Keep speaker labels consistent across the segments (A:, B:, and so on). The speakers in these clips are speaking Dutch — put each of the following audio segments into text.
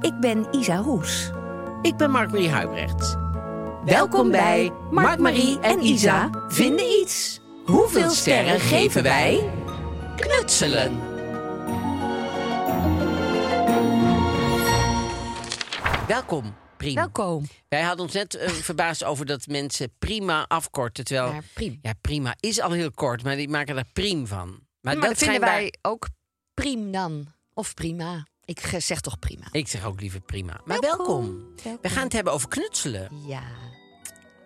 A: Ik ben Isa Roes.
B: Ik ben Mark-Marie Huibrecht.
A: Welkom bij Mark, Marie en Isa vinden iets.
B: Hoeveel sterren geven wij? Knutselen. Welkom, Prima.
A: Welkom.
B: Wij hadden ons net eh, verbaasd over dat mensen prima afkorten. Terwijl,
A: Ja, priem.
B: Ja, prima is al heel kort, maar die maken daar priem van. Maar,
A: Maar dat vinden
B: schijnbaar-
A: wij ook prima dan. Of prima. Ik ge- zeg toch prima.
B: Ik zeg ook liever prima. Maar welkom.
A: Welkom.
B: We
A: Welkom.
B: gaan het hebben over knutselen.
A: Ja.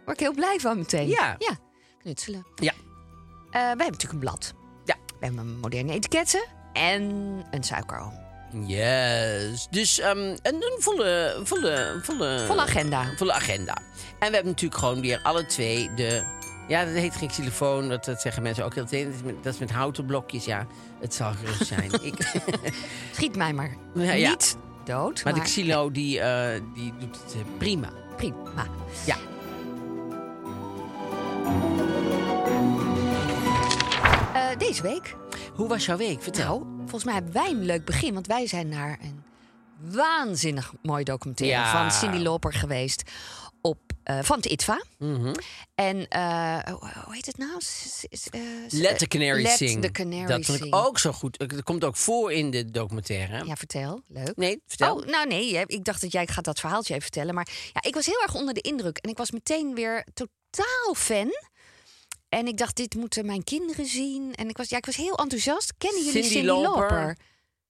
A: Word ik heel blij van meteen.
B: Ja.
A: Ja. Knutselen.
B: Ja.
A: Eh, wij hebben natuurlijk een blad.
B: Ja.
A: We hebben moderne etiketten en een suikeroom.
B: Yes. Dus ehm, een, een volle, een volle, een volle,
A: Volle agenda.
B: een volle agenda. En we hebben natuurlijk gewoon weer alle twee de. Ja, dat heet geen xylofoon, dat, dat zeggen mensen ook heel veel. Dat is met- dat is met houten blokjes, ja. Het zal gerust zijn. ik,
A: Schiet mij maar
B: Ja, ja.
A: niet dood.
B: maar de xylo, die, eh, die doet het eh, prima.
A: prima.
B: Ja.
A: Eh, deze week.
B: Hoe was jouw week? Vertel.
A: Nou, volgens mij hebben wij een leuk begin. Want wij zijn naar een waanzinnig mooi documentaire
B: Ja.
A: van Cindy Loper geweest. Op, eh, van het ITVA.
B: Mhm.
A: En eh, hoe- hoe heet het nou? S- s- eh, s-
B: Let the Canary
A: Let
B: Sing.
A: the Canary
B: dat vond ik
A: Sing.
B: ook zo goed. Dat komt ook voor in de documentaire. hè?
A: Ja, vertel. Leuk.
B: Nee, vertel.
A: Oh, nou nee, hè, ik dacht dat jij gaat dat verhaaltje even vertellen. Maar ja, ik was heel erg onder de indruk. En ik was meteen weer totaal fan. En ik dacht, dit moeten mijn kinderen zien. En ik was, ja, ik was heel enthousiast. Kennen jullie
B: Cindy
A: Cindy,
B: Loper?
A: Loper?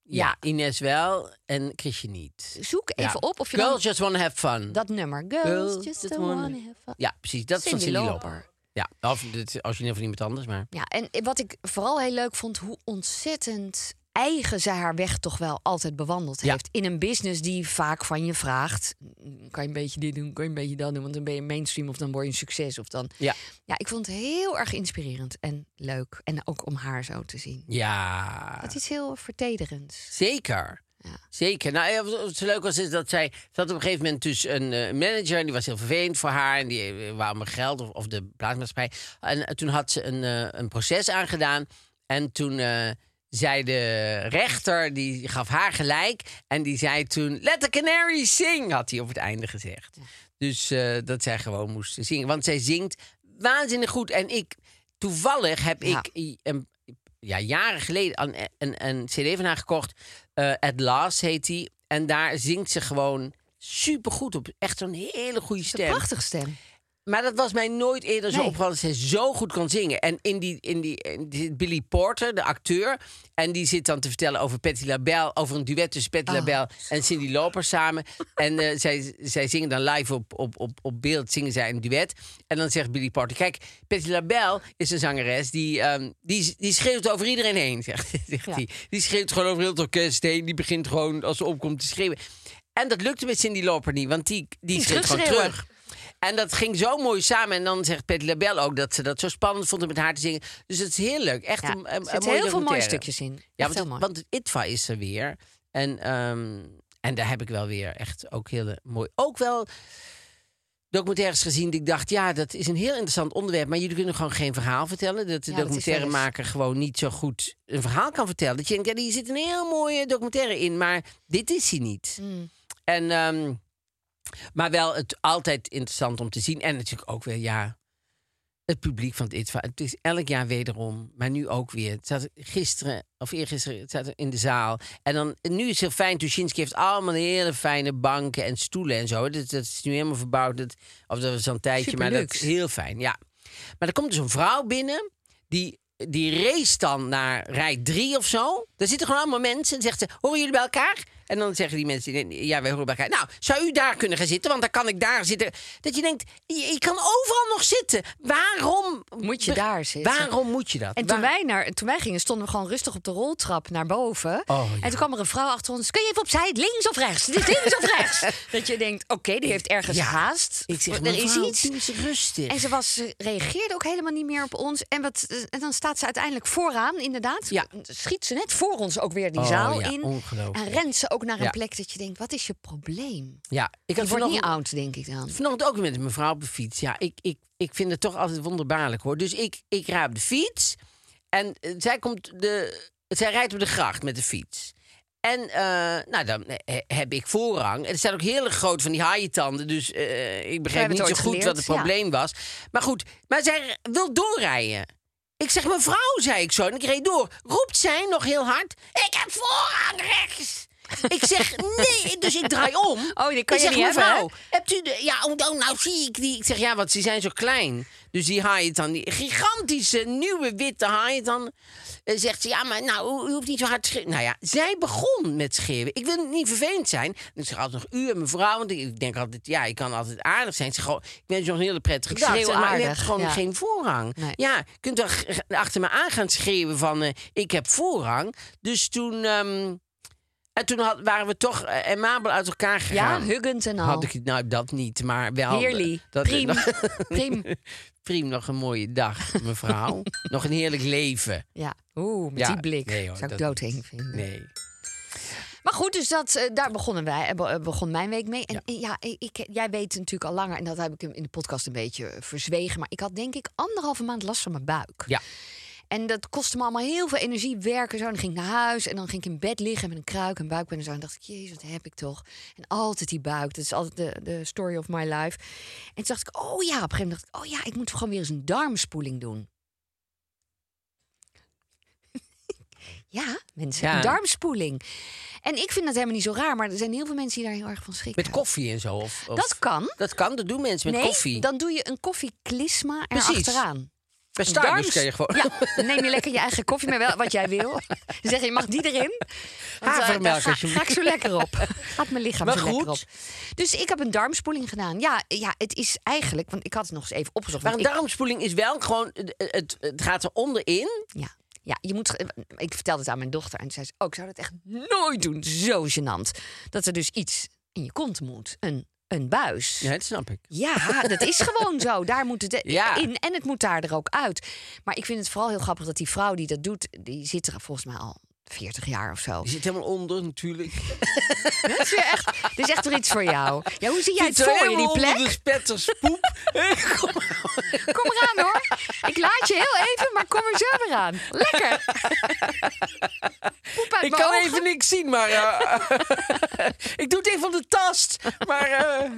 B: ja. Ines wel en Chrisje niet.
A: Zoek
B: Ja.
A: even op of je
B: Girls
A: dan-
B: just wanna have fun.
A: dat nummer. Girls,
B: Girls
A: just
B: just
A: don't
B: wanna-
A: wanna have fun.
B: Ja, precies. Dat is van
A: Cyndi
B: Cindy Loper.
A: Lauper.
B: Ja, of dit, als je niet van iemand anders, maar...
A: Ja, en wat ik vooral heel leuk vond, hoe ontzettend eigen zij haar weg toch wel altijd bewandeld
B: Ja.
A: heeft. In een business die vaak van je vraagt: "Mm, kan je een beetje dit doen, kan je een beetje dat doen, want dan ben je mainstream of dan word je een succes. Of dan...
B: Ja.
A: ja, ik vond het heel erg inspirerend en leuk. En ook om haar zo te zien.
B: Ja,
A: Dat is heel vertederends.
B: zeker. Zeker. Nou, ja, wat zo leuk was, is dat zij... Ze had op een gegeven moment dus een eh, manager... en die was heel vervelend voor haar... en die eh, wou mijn geld of, of de plaatsmaatschappij. En eh, toen had ze een, eh, een proces aangedaan... en toen eh, zei de rechter, die gaf haar gelijk... en die zei toen... Let the canary sing, had hij op het einde gezegd. Dus eh, dat zij gewoon moest zingen. Want zij zingt waanzinnig goed. En ik, toevallig heb
A: Ja.
B: ik i- een, ja, jaren geleden een, een, een CD van haar gekocht. Eh, At Last heet die. En daar zingt ze gewoon supergoed op. Echt zo'n hele goede
A: Een
B: stem.
A: prachtige stem.
B: Maar dat was mij nooit eerder zo
A: Nee.
B: opgevallen dat ze zo goed kon zingen. En in die, in die, in die- Billy Porter, de acteur, en die zit dan te vertellen over Patti LaBelle, over een duet tussen
A: Ah.
B: Patti LaBelle en Cindy Loper samen. En eh, zij, zij zingen dan live op, op, op, op beeld, zingen zij een duet. En dan zegt Billy Porter, kijk, Patti LaBelle is een zangeres die, ehm, die, die schreeuwt over iedereen heen, zegt, zegt hij. Die schreeuwt gewoon over heel het orkest heen, die begint gewoon als ze opkomt te schreeuwen. En dat lukte met Cindy Loper niet, want die, die, schreeuwt gewoon
A: terugschreeuwen.
B: terug. En dat ging zo mooi samen. En dan zegt Pet Labelle ook dat ze dat zo spannend vond om met haar te zingen. Dus het is heel leuk. Echt
A: Ja,
B: een, een,
A: er
B: een
A: zitten
B: mooie
A: heel veel mooie
B: documentaire.
A: stukjes in.
B: Ja,
A: Echt
B: want,
A: heel
B: het-
A: mooi.
B: want het ITVA is er weer. En, ehm, en daar heb ik wel weer echt ook heel mooi... Ook wel documentaires gezien die ik dacht... ja, dat is een heel interessant onderwerp... maar jullie kunnen gewoon geen verhaal vertellen. Dat de
A: Ja, dat is wel eens.
B: documentairemaker gewoon niet zo goed een verhaal kan vertellen. Dat je denkt, ja, hier zit een heel mooie documentaire in... maar dit is hij niet.
A: Mm.
B: En, ehm, maar wel het, altijd interessant om te zien. En natuurlijk ook weer, ja... het publiek van het ITVA. Het is elk jaar wederom, maar nu ook weer. Het zat gisteren, of eergisteren, het zat in de zaal. En dan, nu is het heel fijn, Tuschinski heeft allemaal hele fijne banken en stoelen en zo. Dat, dat is nu helemaal verbouwd, dat, of dat was al een tijdje, maar dat is
A: Superluxe.
B: heel fijn, ja. Maar er komt dus een vrouw binnen, die, die race dan naar rij 3 of zo. Daar zitten gewoon allemaal mensen en zegt ze, horen jullie bij elkaar? En dan zeggen die mensen, nee, nee, ja, wij horen bij elkaar. Nou, zou u daar kunnen gaan zitten? Want dan kan ik daar zitten. Dat je denkt, je, je kan overal nog zitten. Waarom
A: Moet je
B: be-
A: daar zitten?
B: Waarom moet je dat?
A: En toen wij, naar, toen wij gingen, stonden we gewoon rustig op de roltrap naar boven.
B: Oh, ja.
A: En toen kwam er een vrouw achter ons. Kun je even opzij, links of rechts? Dit is links of rechts? Dat je denkt, oké, die heeft ergens
B: Ja.
A: haast.
B: ik zeg,
A: er is
B: mevrouw,
A: iets.
B: doe eens rustig.
A: En ze, was, ze reageerde ook helemaal niet meer op ons. En, wat, eh, en dan staat ze uiteindelijk vooraan, inderdaad.
B: Ja.
A: Schiet ze net voor ons ook weer die
B: Oh,
A: zaal
B: ja,
A: in.
B: ongelooflijk.
A: En rent ze ook naar een
B: Ja.
A: plek dat je denkt, wat is je probleem?
B: ja, ik
A: Je
B: had
A: wordt niet
B: vanochtend,
A: oud, denk ik dan.
B: vanochtend ook met een mevrouw op de fiets. Ja, ik, ik, ik vind het toch altijd wonderbaarlijk hoor. Dus ik, ik raap de fiets. En eh, zij, komt de, zij rijdt op de gracht met de fiets. En eh, nou, dan eh, heb ik voorrang. En er staan ook hele groot van die haaientanden. Dus eh, ik begrijp
A: hebben het
B: niet zo goed
A: ooit geleerd,
B: wat het
A: ja.
B: probleem was. Maar goed, maar zij wil doorrijden. Ik zeg, mevrouw, zei ik zo. En ik reed door. Roept zij nog heel hard. Ik heb voorrang rechts. Ik zeg, nee. Dus ik draai om.
A: Oh, kan je
B: ik zeg,
A: niet hebben,
B: mevrouw, hebt u de... Ja, oh, nou, nou zie ik die. Ik zeg, ja, want ze zijn zo klein. Dus die haaien dan, die gigantische nieuwe witte haaien dan... eh, zegt ze, ja, maar nou, u hoeft niet zo hard te schreeuwen. Nou ja, zij begon met schreeuwen. Ik wil niet vervelend zijn. Dus ik zeg altijd nog u en mevrouw. Want ik denk altijd, ja, ik kan altijd aardig zijn. Ik zeg gewoon, ik ben zo'n hele prettige
A: Ik
B: dag.
A: schreeuw
B: Zeg maar, u
A: aardig,
B: hebt gewoon
A: ja.
B: geen voorrang.
A: Nee.
B: Ja, je kunt wel g- g- achter me aan gaan schreeuwen van... eh, ik heb voorrang. Dus toen... ehm, en toen had- waren we toch eh, amabel uit
A: Ja,
B: elkaar gegaan.
A: huggend en al.
B: Had ik nou dat niet, maar wel. eh,
A: Heerlijk.
B: Dat,
A: Priem. Priem.
B: Priem, nog een mooie dag, mevrouw. nog een heerlijk leven.
A: Ja, oeh, met
B: Ja,
A: die blik.
B: nee hoor,
A: Zou ik
B: dat
A: doodheen
B: niet.
A: vinden.
B: Nee.
A: Maar goed, dus dat, eh, daar begonnen wij, eh, be- eh, begon mijn week mee. En
B: Ja.
A: eh, ja, eh, ik, jij weet natuurlijk al langer, en dat heb ik hem in de podcast een beetje eh, verzwegen. Maar ik had denk ik anderhalve maand last van mijn buik.
B: Ja.
A: En dat kostte me allemaal heel veel energie werken. Zo. En dan ging ik naar huis en dan ging ik in bed liggen met een kruik en buikpijn. En zo. En dacht ik, jezus, wat heb ik toch. En altijd die buik. Dat is altijd de, de story of my life. En toen dacht ik, oh ja, op een gegeven moment dacht ik... oh ja, ik moet gewoon weer eens een darmspoeling doen. ja, mensen,
B: Ja.
A: een darmspoeling. En ik vind dat helemaal niet zo raar... maar er zijn heel veel mensen die daar heel erg van schrikken.
B: Met koffie en zo. Of, of-
A: Dat kan.
B: Dat kan, dat doen mensen met
A: nee,
B: koffie.
A: dan doe je een koffieklisma
B: Precies.
A: erachteraan.
B: Bij Starbucks
A: Darms-
B: kan je gewoon...
A: Ja, dan neem je lekker je eigen koffie, maar wel wat jij wil. Dan zeg je, je mag die erin. Want, eh,
B: Havermelk,
A: daar ga,
B: alsjeblieft.
A: ga ik zo lekker op. Gaat mijn lichaam
B: Maar
A: zo lekker
B: goed.
A: op. Dus ik heb een darmspoeling gedaan. Ja, ja, het is eigenlijk... Want ik had het nog eens even opgezocht.
B: Maar
A: want
B: een
A: ik-
B: darmspoeling is wel gewoon... Het, het, het gaat eronder in.
A: Ja. Ja, je moet. Ik vertelde het aan mijn dochter en toen zei ze: Oh, ik zou dat echt nooit doen. Zo gênant. Dat er dus iets in je kont moet. Een, een buis.
B: Ja, dat snap ik.
A: Ja, dat is gewoon zo. Daar moet het eh,
B: Ja.
A: in en het moet daar er ook uit. Maar ik vind het vooral heel grappig dat die vrouw die dat doet, die zit er volgens mij al 40 jaar of zo.
B: Die zit helemaal onder natuurlijk.
A: Dat is weer echt, dit is echt weer iets voor jou. Ja, hoe zie jij het
B: Zit er
A: voor je, die
B: helemaal onder
A: plek?
B: de spetterspoep.
A: Kom eraan hoor. Ik laat je heel even, maar kom er zo weer aan. Lekker. Poep uit
B: Ik
A: mijn
B: kan
A: ogen.
B: even niks zien, maar... eh, ik doe het even van de tast. Maar... eh,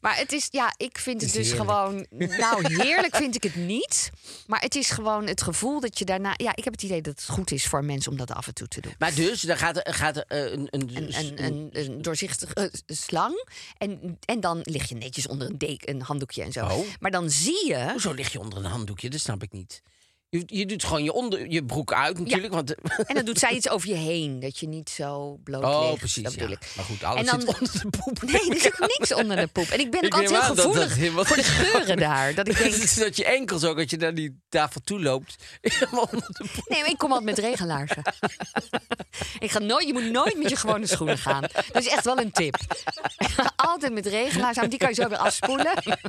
A: Maar het is, ja, ik vind het
B: is
A: dus
B: heerlijk.
A: gewoon. Nou, heerlijk vind ik het niet. Maar het is gewoon het gevoel dat je daarna. Ja, ik heb het idee dat het goed is voor mensen om dat af en toe te doen.
B: Maar dus, dan gaat er, gaat er eh, een, een,
A: een, een, een, een doorzichtige eh, s- slang. En, en dan lig je netjes onder een deken, een handdoekje en zo.
B: Oh.
A: Maar dan zie je.
B: Hoezo lig je onder een handdoekje? Dat snap ik niet. Je, je doet gewoon je, onder, je broek uit natuurlijk. Want,
A: En dan doet zij iets over je heen. Dat je niet zo bloot
B: oh,
A: ligt.
B: precies.
A: Dat bedoel
B: ja.
A: ik.
B: Maar goed, alles
A: En dan-
B: zit onder de poep.
A: Nee, er zit niks onder de poep. En ik ben ook
B: Ik
A: altijd
B: neem
A: heel
B: aan dat dat
A: gevoelig
B: helemaal-
A: voor de geuren daar. Dat ik
B: Dat
A: denk,
B: is dat je enkels ook, als je naar die tafel toe loopt, helemaal onder de poep.
A: Nee, maar ik kom altijd met regenlaarzen. ik ga nooit, je moet nooit met je gewone schoenen gaan. Dat is echt wel een tip. altijd met regenlaarzen aan, die kan je zo weer afspoelen.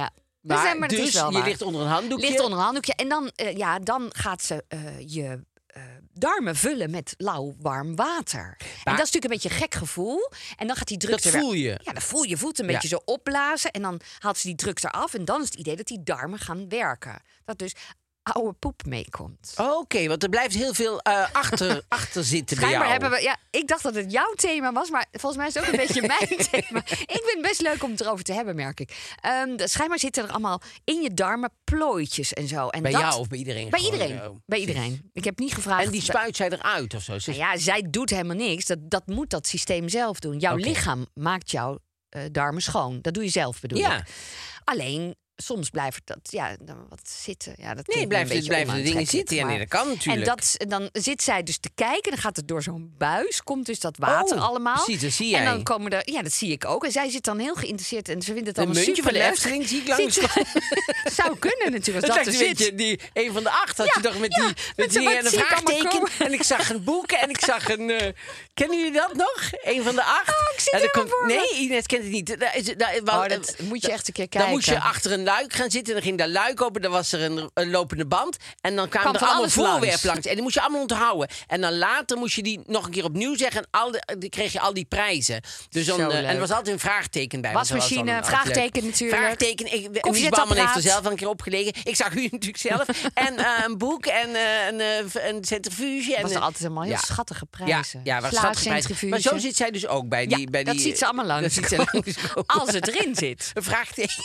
A: ja. Dus, eh, maar het
B: dus
A: is wel
B: je
A: waar.
B: ligt onder een handdoekje.
A: Ligt onder een handdoekje. En dan, eh, ja, dan gaat ze eh, je eh, darmen vullen met lauw warm water. en dat is natuurlijk een beetje een gek gevoel. En dan gaat die druk
B: Dat
A: er weer-
B: voel je.
A: Ja, dan voel je je voet een
B: Ja.
A: beetje zo opblazen. En dan haalt ze die druk eraf. En dan is het idee dat die darmen gaan werken. Dat dus oude poep meekomt.
B: Oké, want er blijft heel veel eh, achter, achter zitten bij jou.
A: Schijnbaar hebben we. Ja, ik dacht dat het jouw thema was, maar volgens mij is het ook een beetje mijn thema. Ik vind het best leuk om het erover te hebben, merk ik. Ehm, de- schijnbaar zitten er allemaal in je darmen plooitjes en zo. En
B: Bij
A: dat-
B: jou of bij iedereen
A: Bij
B: gewoon,
A: iedereen.
B: eh,
A: bij iedereen. Ik heb niet gevraagd.
B: En die spuit zij eruit of zo. Ze-
A: Nou ja, zij doet helemaal niks. Dat, dat moet dat systeem zelf doen. Jouw
B: Oké.
A: lichaam maakt jouw eh, darmen schoon. Dat doe je zelf, bedoel
B: Ja.
A: ik. Alleen. Soms blijft dat, ja, dan wat zitten. Ja, dat
B: Nee,
A: klinkt
B: blijven-
A: een beetje
B: blijven de dingen
A: onaantrekkelijk,
B: zitten. Ja, nee,
A: maar-
B: dat kan natuurlijk.
A: En dat, is- en dan zit zij dus te kijken. Dan gaat het door zo'n buis. Komt dus dat water
B: Oh,
A: allemaal.
B: precies, dat zie
A: En
B: jij.
A: dan komen er, ja, dat zie ik ook. En zij zit dan heel geïnteresseerd. En ze vindt het
B: Een
A: allemaal
B: muntje van de
A: superleuk.
B: Efteling zie ik
A: Zit
B: langskomen.
A: ze- Zou kunnen natuurlijk,
B: Dat
A: als Dus dat,
B: lijkt
A: er
B: een
A: zit.
B: beetje die, een van de acht had
A: Ja,
B: je toch met
A: ja,
B: die,
A: met
B: met
A: zo,
B: die eh,
A: wat
B: en een
A: zie ik allemaal
B: vraagteken.
A: komen?
B: En ik zag een boek en ik zag een... eh, kennen jullie dat nog? Een van de acht.
A: Oh, ik zie
B: En
A: het
B: dan
A: helemaal voor me.
B: Nee, Ines kent het niet. Daar is- daar- wel,
A: Oh, dat
B: eh,
A: moet je echt een keer
B: Dan moest je
A: kijken.
B: achter een luik gaan zitten. Dan ging dat luik open. Dan was er een, een lopende band. En dan kwamen
A: Kwam
B: er
A: van
B: allemaal
A: alles langs.
B: voorwerpen langs. En die moest je allemaal onthouden. En dan later moest je die nog een keer opnieuw zeggen. En al de- dan kreeg je al die prijzen. Dus dan,
A: Zo
B: eh, en
A: leuk.
B: er was altijd een vraagteken bij. want dat was dan
A: Wasmachine,
B: altijd leuk.
A: vraagteken natuurlijk.
B: Vraagteken. Ik, Mies
A: Koffiezetapparaat.
B: Bouwman heeft er zelf wel een keer opgelegen. Ik zag u natuurlijk zelf. En eh, een boek en eh, een, eh, een centrifuge. En,
A: was er
B: eh,
A: altijd allemaal heel
B: ja.
A: schattige
B: Ja,
A: prijzen.
B: ja, waar
A: Sla,
B: schattige prijzen. Maar
A: centrifuge.
B: zo zit zij dus ook bij die...
A: Ja,
B: bij
A: dat
B: die, eh,
A: ziet ze allemaal langs.
B: Dat ziet ze langskomen.
A: Als het erin zit.
B: Een vraagteken.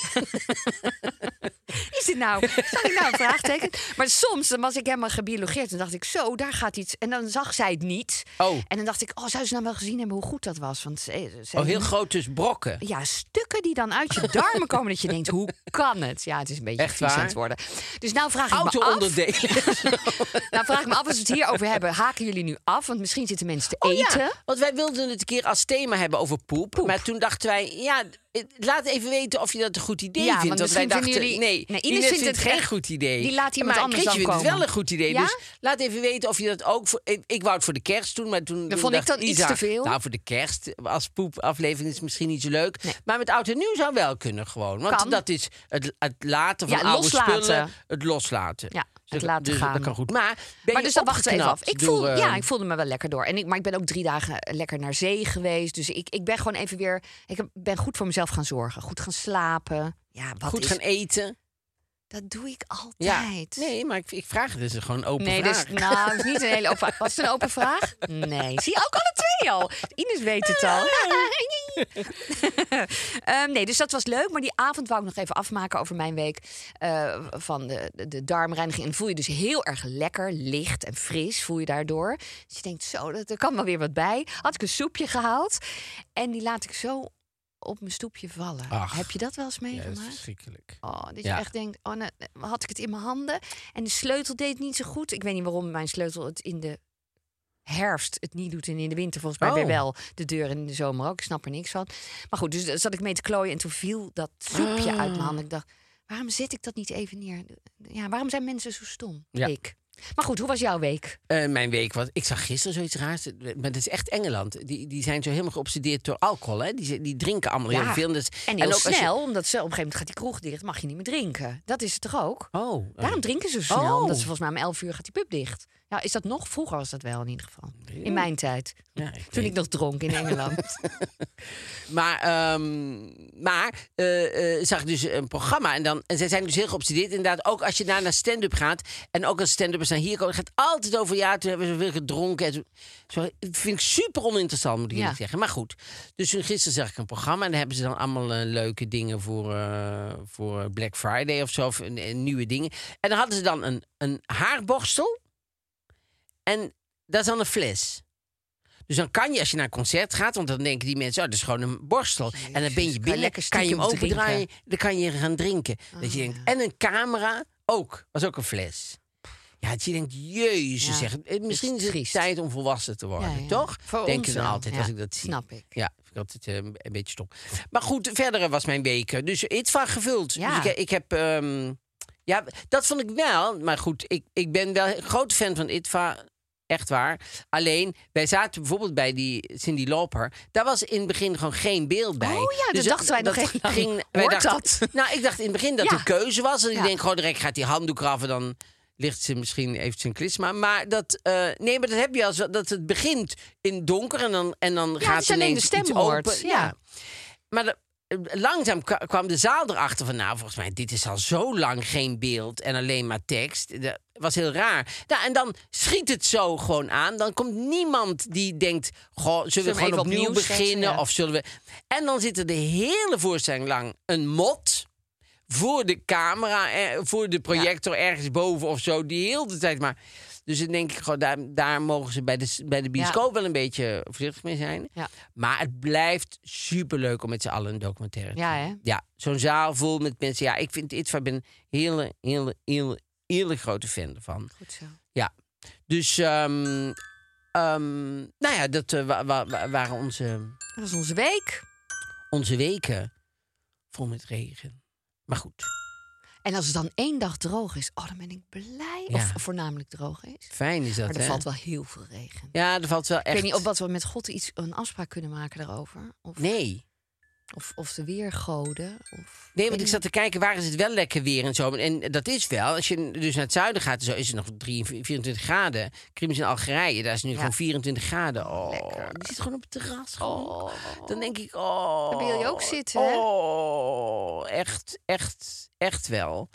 A: Is dit nou? Zat ik nou een vraagteken? Maar soms dan was ik helemaal gebiologeerd en dacht ik, zo, daar gaat iets. En dan zag zij het niet.
B: Oh.
A: En dan dacht ik, oh, zou ze nou wel gezien hebben hoe goed dat was? Want ze, ze-
B: Oh, heel groot dus brokken.
A: Ja, stukken die dan uit je darmen komen dat je denkt, hoe kan het? Ja, het is een beetje
B: Echt
A: vies aan
B: waar?
A: het worden. Dus nou vraag ik me af.
B: Auto-onderdelen.
A: Nou vraag ik me af als we het hierover hebben. Haken jullie nu af? Want misschien zitten mensen te
B: Oh ja,
A: eten.
B: want wij wilden het een keer als thema hebben over poep. Maar toen dachten wij, ja, eh, laat even weten of je dat een goed idee
A: Ja, want
B: vindt. wij
A: misschien
B: dachten,
A: vinden jullie-
B: nee,
A: Nee, Ines
B: Ines
A: vindt
B: vindt
A: het
B: geen
A: echt-
B: goed idee.
A: die laat iemand
B: maar
A: anders
B: Chrisje
A: dan
B: vindt het wel
A: komen.
B: een goed idee.
A: Ja?
B: Dus laat even weten of je dat ook... Voor, ik, ik wou het voor de kerst doen, maar toen... toen
A: vond ik
B: dacht
A: dan iets
B: Isa,
A: te veel.
B: Nou, voor de kerst als poepaflevering is misschien niet zo leuk.
A: Nee.
B: Maar met oud en nieuw zou wel kunnen gewoon. Want
A: Kan.
B: dat is het, het laten van
A: Ja,
B: oude
A: loslaten.
B: spullen. Het loslaten.
A: Ja,
B: Dus
A: het
B: dat-
A: laten
B: dus
A: gaan.
B: Dat kan goed. Maar ben
A: Maar
B: je
A: dus dat wachten we even af.
B: opgeknapt
A: Ik voel,
B: door, eh,
A: ja, ik voelde me wel lekker door. En ik, maar ik ben ook drie dagen eh, lekker naar zee geweest. Dus ik, ik ben gewoon even weer. Ik heb- ben goed voor mezelf gaan zorgen. Goed gaan slapen. Ja, wat
B: goed
A: is,
B: gaan eten.
A: dat doe ik
B: Ja.
A: altijd.
B: Nee, maar ik, ik vraag het. Het is gewoon een open
A: Nee,
B: vraag.
A: dus, nou, dat is niet een hele open vraag. Was het een open vraag? Nee. Zie je ook alle twee al. Ines weet het al. Ehm, nee, dus dat was leuk. Maar die avond wou ik nog even afmaken over mijn week. eh, van de, de, de darmreiniging. En dan voel je dus heel erg lekker, licht en fris voel je daardoor. Dus je denkt, zo, dat, er kan wel weer wat bij. Had ik een soepje gehaald. En die laat ik zo op mijn stoepje vallen.
B: Ach.
A: Heb je dat wel eens
B: Ja, dat is
A: meegemaakt?
B: verschrikkelijk.
A: Oh, dat
B: Ja.
A: je echt denkt, oh, nou, had ik het in mijn handen? En de sleutel deed het niet zo goed. Ik weet niet waarom mijn sleutel het in de herfst het niet doet en in de winter volgens mij weer
B: Oh.
A: wel de deur en in de zomer ook. Ik snap er niks van. Maar goed, dus daar zat ik mee te klooien en toen viel dat soepje
B: Ah.
A: uit mijn handen. Ik dacht, waarom zet ik dat niet even neer? Ja, waarom zijn mensen zo stom?
B: Ja.
A: Ik. Maar goed, hoe was jouw week?
B: Eh, mijn week was... Ik zag gisteren zoiets raars. Maar dat is echt Engeland. Die, die zijn zo helemaal geobsedeerd door alcohol. Hè? Die, die drinken allemaal heel veel. Dus,
A: En heel
B: ook als je-
A: snel, omdat ze op een gegeven moment gaat die kroeg dicht, mag je niet meer drinken. Dat is het toch ook?
B: Oh, eh,
A: Daarom drinken ze zo snel.
B: Oh.
A: Omdat ze volgens mij om 11 uur gaat die pub dicht. Ja, is dat nog? Vroeger was dat wel in ieder geval. In mijn tijd.
B: ja, ik
A: Toen
B: weet-
A: ik nog dronk in Engeland.
B: Maar, ehm, maar eh, eh, zag ik dus een programma. En, dan, en zij zijn dus heel geobsedeerd. Inderdaad, ook als je daar naar stand-up gaat. En ook als stand-uppers naar hier komen. Het gaat altijd over, ja, toen hebben we zoveel gedronken. En zo, zo, dat vind ik super oninteressant, moet ik
A: Ja.
B: eerlijk zeggen. Maar goed. Dus toen gisteren zag ik een programma. En daar hebben ze dan allemaal eh, leuke dingen voor, eh, voor eh, Black Friday of zo. Of, eh, nieuwe dingen. En dan hadden ze dan een, een haarborstel. En dat is dan een fles. Dus dan kan je, als je naar een concert gaat, want dan denken die mensen, oh, dat is gewoon een borstel. en dan ben
A: Jezus, kan je
B: je binnen,
A: lekker
B: kan je hem
A: stiekem Ah.
B: opendraaien, dan kan je gaan drinken. dat je denkt, en een camera ook, was ook een fles. Ja, dat je denkt, jezus,
A: Ja,
B: zeg, eh, misschien
A: is
B: is het
A: triest.
B: tijd om volwassen te worden,
A: Ja, ja.
B: toch?
A: Voor
B: Denk
A: ons
B: je dan
A: wel,
B: altijd
A: ja,
B: als ik dat zie.
A: snap ik.
B: Ja, vind ik altijd eh, een beetje stom. Maar goed, verder was mijn week eh, dus iets van gevuld.
A: Ja.
B: Dus ik, ik heb... ehm, ja, dat vond ik wel. Maar goed, ik, ik ben wel een groot fan van ITVA. Echt waar. Alleen, wij zaten bijvoorbeeld bij die Cindy Loper. Daar was in het begin gewoon geen beeld bij. Dus
A: Oh ja, dat dachten wij nog
B: dat
A: even.
B: ging- wij
A: Hoort
B: dachten,
A: dat?
B: Nou, ik dacht in het begin dat
A: Ja.
B: de keuze was. En ik
A: Ja.
B: denk gewoon direct gaat die handdoek eraf en dan ligt ze misschien even zijn klisma. Maar dat, eh, nee, maar dat heb je als dat het begint in donker en dan, en dan
A: Ja,
B: gaat
A: het is alleen
B: ineens
A: de stem
B: iets
A: hoort.
B: open.
A: Ja.
B: Maar dat- eh, langzaam kwa- kwam de zaal erachter van... nou, volgens mij, dit is al zo lang geen beeld en alleen maar tekst. Dat was heel raar. Nou, en dan schiet het zo gewoon aan. Dan komt niemand die denkt... Goh, zullen,
A: hem
B: we gewoon
A: even
B: opnieuw,
A: opnieuw zetten,
B: beginnen?
A: ja.
B: Of zullen we... En dan zit er de hele voorstelling lang een mot... voor de camera, eh, voor de projector ergens boven of zo. Die heel de tijd maar... Dus dan denk ik gewoon, daar, daar mogen ze bij de, s- bij de bioscoop wel een beetje voorzichtig mee zijn.
A: Ja.
B: Maar het blijft superleuk om met z'n allen een documentaire te
A: Ja,
B: doen.
A: hè?
B: Ja, zo'n zaal vol met mensen. Ja, ik vind Itva, ik ben een hele, hele, hele, hele grote fan ervan.
A: Goed zo.
B: Ja, dus, ehm, ehm, nou ja, dat eh, wa- wa- wa- waren onze,
A: Dat is onze week.
B: onze weken vol met regen. Maar goed,
A: En als het dan één dag droog is, oh, dan ben ik blij.
B: Ja.
A: Of voornamelijk droog is.
B: fijn is dat,
A: Maar er
B: hè?
A: valt wel heel veel regen.
B: Ja, er valt wel echt...
A: Ik weet niet of wat we met God iets een afspraak kunnen maken daarover. Of,
B: Nee.
A: of, of de weergoden. Of,
B: Nee,
A: weet
B: want ik zat te kijken, waar is het wel lekker weer en zo. En dat is wel, als je dus naar het zuiden gaat, en zo is het nog 23, 24 graden. Krimis in Algerije, daar is het nu gewoon 24 graden. Oh,
A: Lekker.
B: die zit gewoon op het terras. gewoon. Dan denk ik, oh.
A: Daar wil je ook zitten, hè?
B: Oh, echt, echt, echt wel.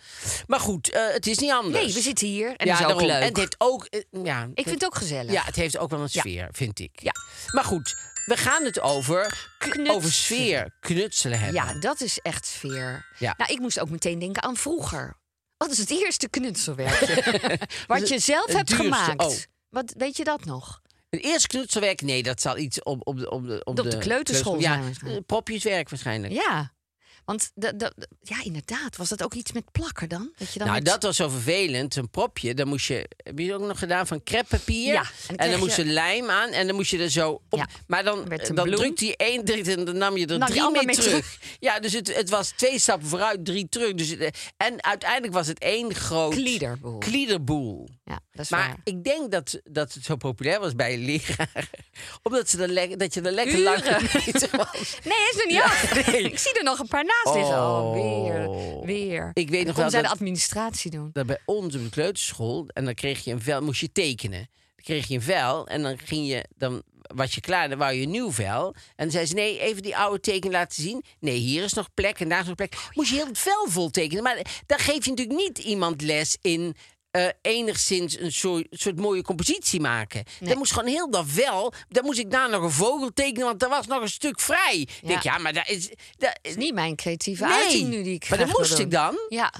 B: Maar goed, eh, het is niet anders.
A: Nee, we zitten hier. En
B: ja,
A: dat is ook
B: daarom.
A: leuk.
B: En het heeft ook, eh, ja,
A: Ik vind het ook gezellig.
B: ja, het heeft ook wel een sfeer, vind ik.
A: Ja.
B: Maar goed, we gaan het over,
A: Knutselen.
B: over sfeer, knutselen hebben.
A: Ja, dat is echt sfeer.
B: Ja.
A: Nou, ik moest ook meteen denken aan vroeger. Wat is het eerste knutselwerkje? wat je zelf
B: Dus het
A: hebt
B: duurste,
A: gemaakt.
B: oh.
A: Wat, weet je dat nog?
B: Het eerste knutselwerk, nee, dat zal iets op, op, de, op, de,
A: Op de kleuterschool zijn
B: Ja,
A: waarschijnlijk.
B: eh, propjeswerk waarschijnlijk.
A: Ja. Want da- da- da- ja, inderdaad. Was dat ook iets met plakken dan? Dat je dan
B: nou,
A: met-
B: dat was zo vervelend. Een propje, dan moest je... Heb je het ook nog gedaan van kreppapier?
A: Ja, en dan
B: En,
A: kreeg
B: dan moest
A: je-
B: je lijm aan en dan moest je er zo op...
A: Ja,
B: Maar dan,
A: werd een
B: dan
A: bloem.
B: drukte je één, drukte en dan nam je er
A: Nam je
B: drie
A: allemaal
B: mee,
A: mee
B: terug. Ja, dus het, het was twee stappen vooruit, drie terug. Dus, het- en uiteindelijk was het één groot...
A: Kliederboel.
B: Kliederboel.
A: ja, dat is
B: Maar
A: waar.
B: ik denk dat, dat het zo populair was bij leraren. Omdat ze er le- dat je er lekker
A: Uren.
B: lang mee was.
A: Nee, hij is er niet
B: Ja,
A: af.
B: nee.
A: Ik zie er nog een paar naast liggen. Oh,
B: Oh.
A: weer. Weer.
B: Ik weet nog
A: Kom
B: wel
A: zij de
B: dat-
A: administratie doen.
B: dat bij ons op de kleuterschool en dan kreeg je een vel, moest je tekenen. Dan kreeg je een vel en dan ging je, dan was je klaar, dan wou je een nieuw vel. En dan zei ze, nee, even die oude teken laten zien. Nee, hier is nog plek en daar is nog plek. Moest je heel het vel vol tekenen. Maar dan geef je natuurlijk niet iemand les in eh, enigszins een soort, soort mooie compositie maken. Dan moest gewoon heel dat vel, dan moest ik daar nog een vogel tekenen, want er was nog een stuk vrij. Ik denk, ja, maar daar is... Daar,
A: is niet mijn creatieve
B: Nee,
A: uiting nu die ik
B: maar dat
A: graag wil
B: moest
A: doen.
B: ik dan.
A: Ja.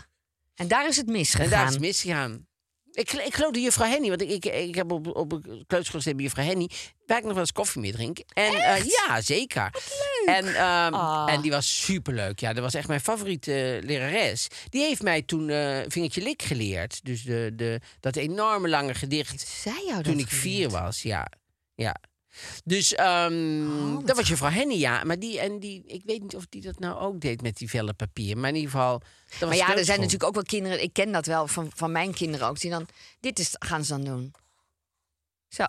A: En daar is het misgegaan.
B: En daar is het misgegaan. Ik, ik geloof de juffrouw Henny, want ik, ik, ik heb op, op een kleuterschool gezeten bij juffrouw Henny, waar ik nog wel eens koffie mee drink. En eh, ja, zeker. En, ehm,
A: Ah.
B: en die was superleuk. Ja, dat was echt mijn favoriete eh, lerares. Die heeft mij toen eh, vingertje lik geleerd. Dus de, de, dat enorme lange gedicht
A: Zij jou dat
B: toen ik
A: geleerd? Oh,
B: vier was. Ja, ja. Dus ehm, dat was juffrouw Henny, ja. Maar die, en die, ik weet niet of die dat nou ook deed met die vellen papier. Maar in ieder geval. dat was
A: Maar ja, er zijn
B: kleuterschool.
A: natuurlijk ook wel kinderen. Ik ken dat wel van, van mijn kinderen ook. Die dan, dit is, gaan ze dan doen. Zo.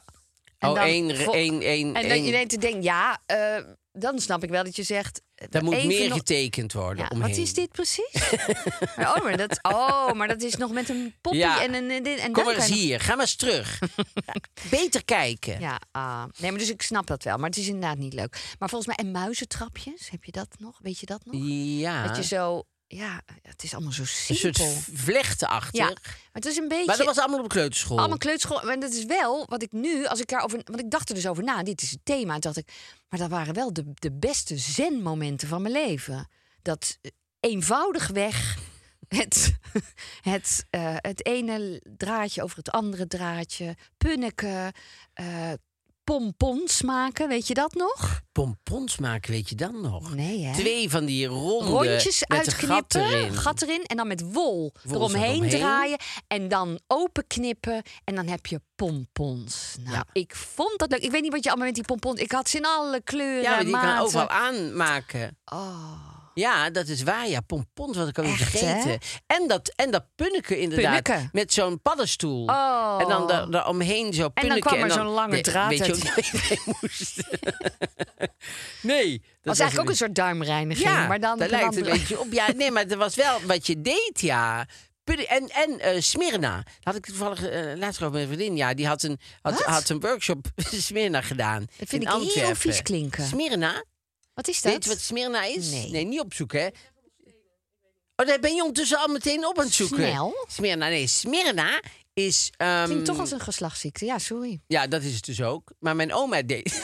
A: En
B: Oh,
A: dan
B: één, re-
A: vol-
B: één, één,
A: En
B: één.
A: dan je denkt te denken, ja, eh, dan snap ik wel dat je zegt. eh,
B: Daar moet
A: even
B: meer
A: nog-
B: getekend worden
A: Ja,
B: omheen.
A: wat is dit precies? Maar, oh, maar dat, oh, maar dat is nog met een poppy
B: Ja.
A: en een eh, dit. En
B: Kom
A: dan
B: maar eens
A: kan je-
B: hier, ga maar eens terug. Ja, Beter kijken.
A: Ja, ah. nee, maar dus ik snap dat wel. Maar het is inderdaad niet leuk. Maar volgens mij, en muizentrapjes, heb je dat nog? Weet je dat nog?
B: Ja,
A: Dat je zo, ja, het is allemaal zo
B: een soort
A: simpel.
B: v- vlechteachtig.
A: Ja, maar het is een beetje...
B: Maar dat was allemaal op kleuterschool.
A: Allemaal kleuterschool. Maar dat is wel wat ik nu, als ik daarover. Want ik dacht er dus over na, dit is het thema. Toen dacht ik, maar dat waren wel de, de beste zen-momenten van mijn leven. Dat eh, eenvoudig weg. Het, het, eh, het ene draadje over het andere draadje. Punneken. eh, pompons maken, weet je dat nog?
B: Pompons maken, weet je dan nog?
A: Nee, hè?
B: Twee van die ronde
A: Rondjes
B: eh, met
A: uitknippen,
B: een gat erin.
A: en dan met wol,
B: Wol
A: eromheen
B: eromheen.
A: draaien en dan openknippen en dan heb je pompons. Nou, ik vond dat leuk. Ik weet niet wat je allemaal met die pompons. Ik had ze in alle kleuren.
B: ja, maar die kan
A: maten.
B: overal aanmaken.
A: Oh,
B: Ja, dat is waar. Ja, pompons had ik alweer
A: Echt,
B: vergeten.
A: hè?
B: En dat, en dat punneken inderdaad.
A: Punneken.
B: Met zo'n paddenstoel.
A: Oh.
B: En dan daar, daar omheen zo punneken.
A: kwam er zo'n lange
B: Nee,
A: draad
B: Weet je
A: uit.
B: ook niet waar je mee moest? nee. Dat
A: was eigenlijk ook een soort duimreiniging,
B: Ja,
A: maar dan
B: daar lijkt het
A: dan-
B: een beetje op. Ja, nee, maar dat was wel wat je deed, ja. Pudde- En, en eh Smyrna. Daar had ik toevallig eh, laatst over met mijn vriendin. Ja, die had een, had,
A: Wat?
B: had een workshop Smyrna gedaan.
A: Dat vind
B: in
A: ik heel
B: Antwerpen.
A: vies klinken.
B: Smyrna?
A: Wat is dat?
B: Weet je wat Smyrna is?
A: Nee.
B: niet opzoeken, hè? Oh, daar ben je ondertussen al meteen op aan het zoeken.
A: Snel.
B: Smyrna, nee, Smyrna is... ehm,
A: Klinkt toch als een geslachtsziekte. Ja, sorry.
B: Ja, dat is het dus ook. Maar mijn oma deed...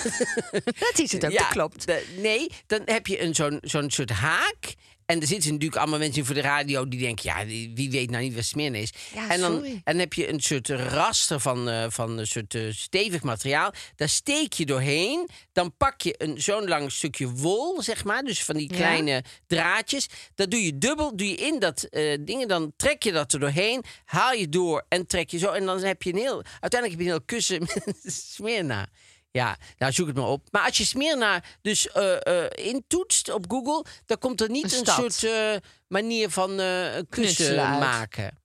A: Dat is het ook, dat klopt.
B: de- nee, dan heb je een, zo'n, zo'n soort haak. En er zitten natuurlijk allemaal mensen voor de radio die denken... ja, die- wie weet nou niet wat smeer is.
A: Ja,
B: en, dan,
A: sorry.
B: en dan heb je een soort raster van, eh, van een soort eh, stevig materiaal. Daar steek je doorheen. Dan pak je een, zo'n lang stukje wol, zeg maar. Dus van die
A: Ja.
B: kleine draadjes. Dat doe je dubbel, doe je in dat eh ding. Dan trek je dat er doorheen, haal je door en trek je zo. En dan heb je een heel... Uiteindelijk heb je een heel kussen met smeerna. Ja, nou zoek het maar op. Maar als je Smyrna dus eh, eh, intoetst op Google... dan komt er niet
A: Een
B: een,
A: stad.
B: soort eh, manier van eh kussen
A: Knutselen uit.
B: maken.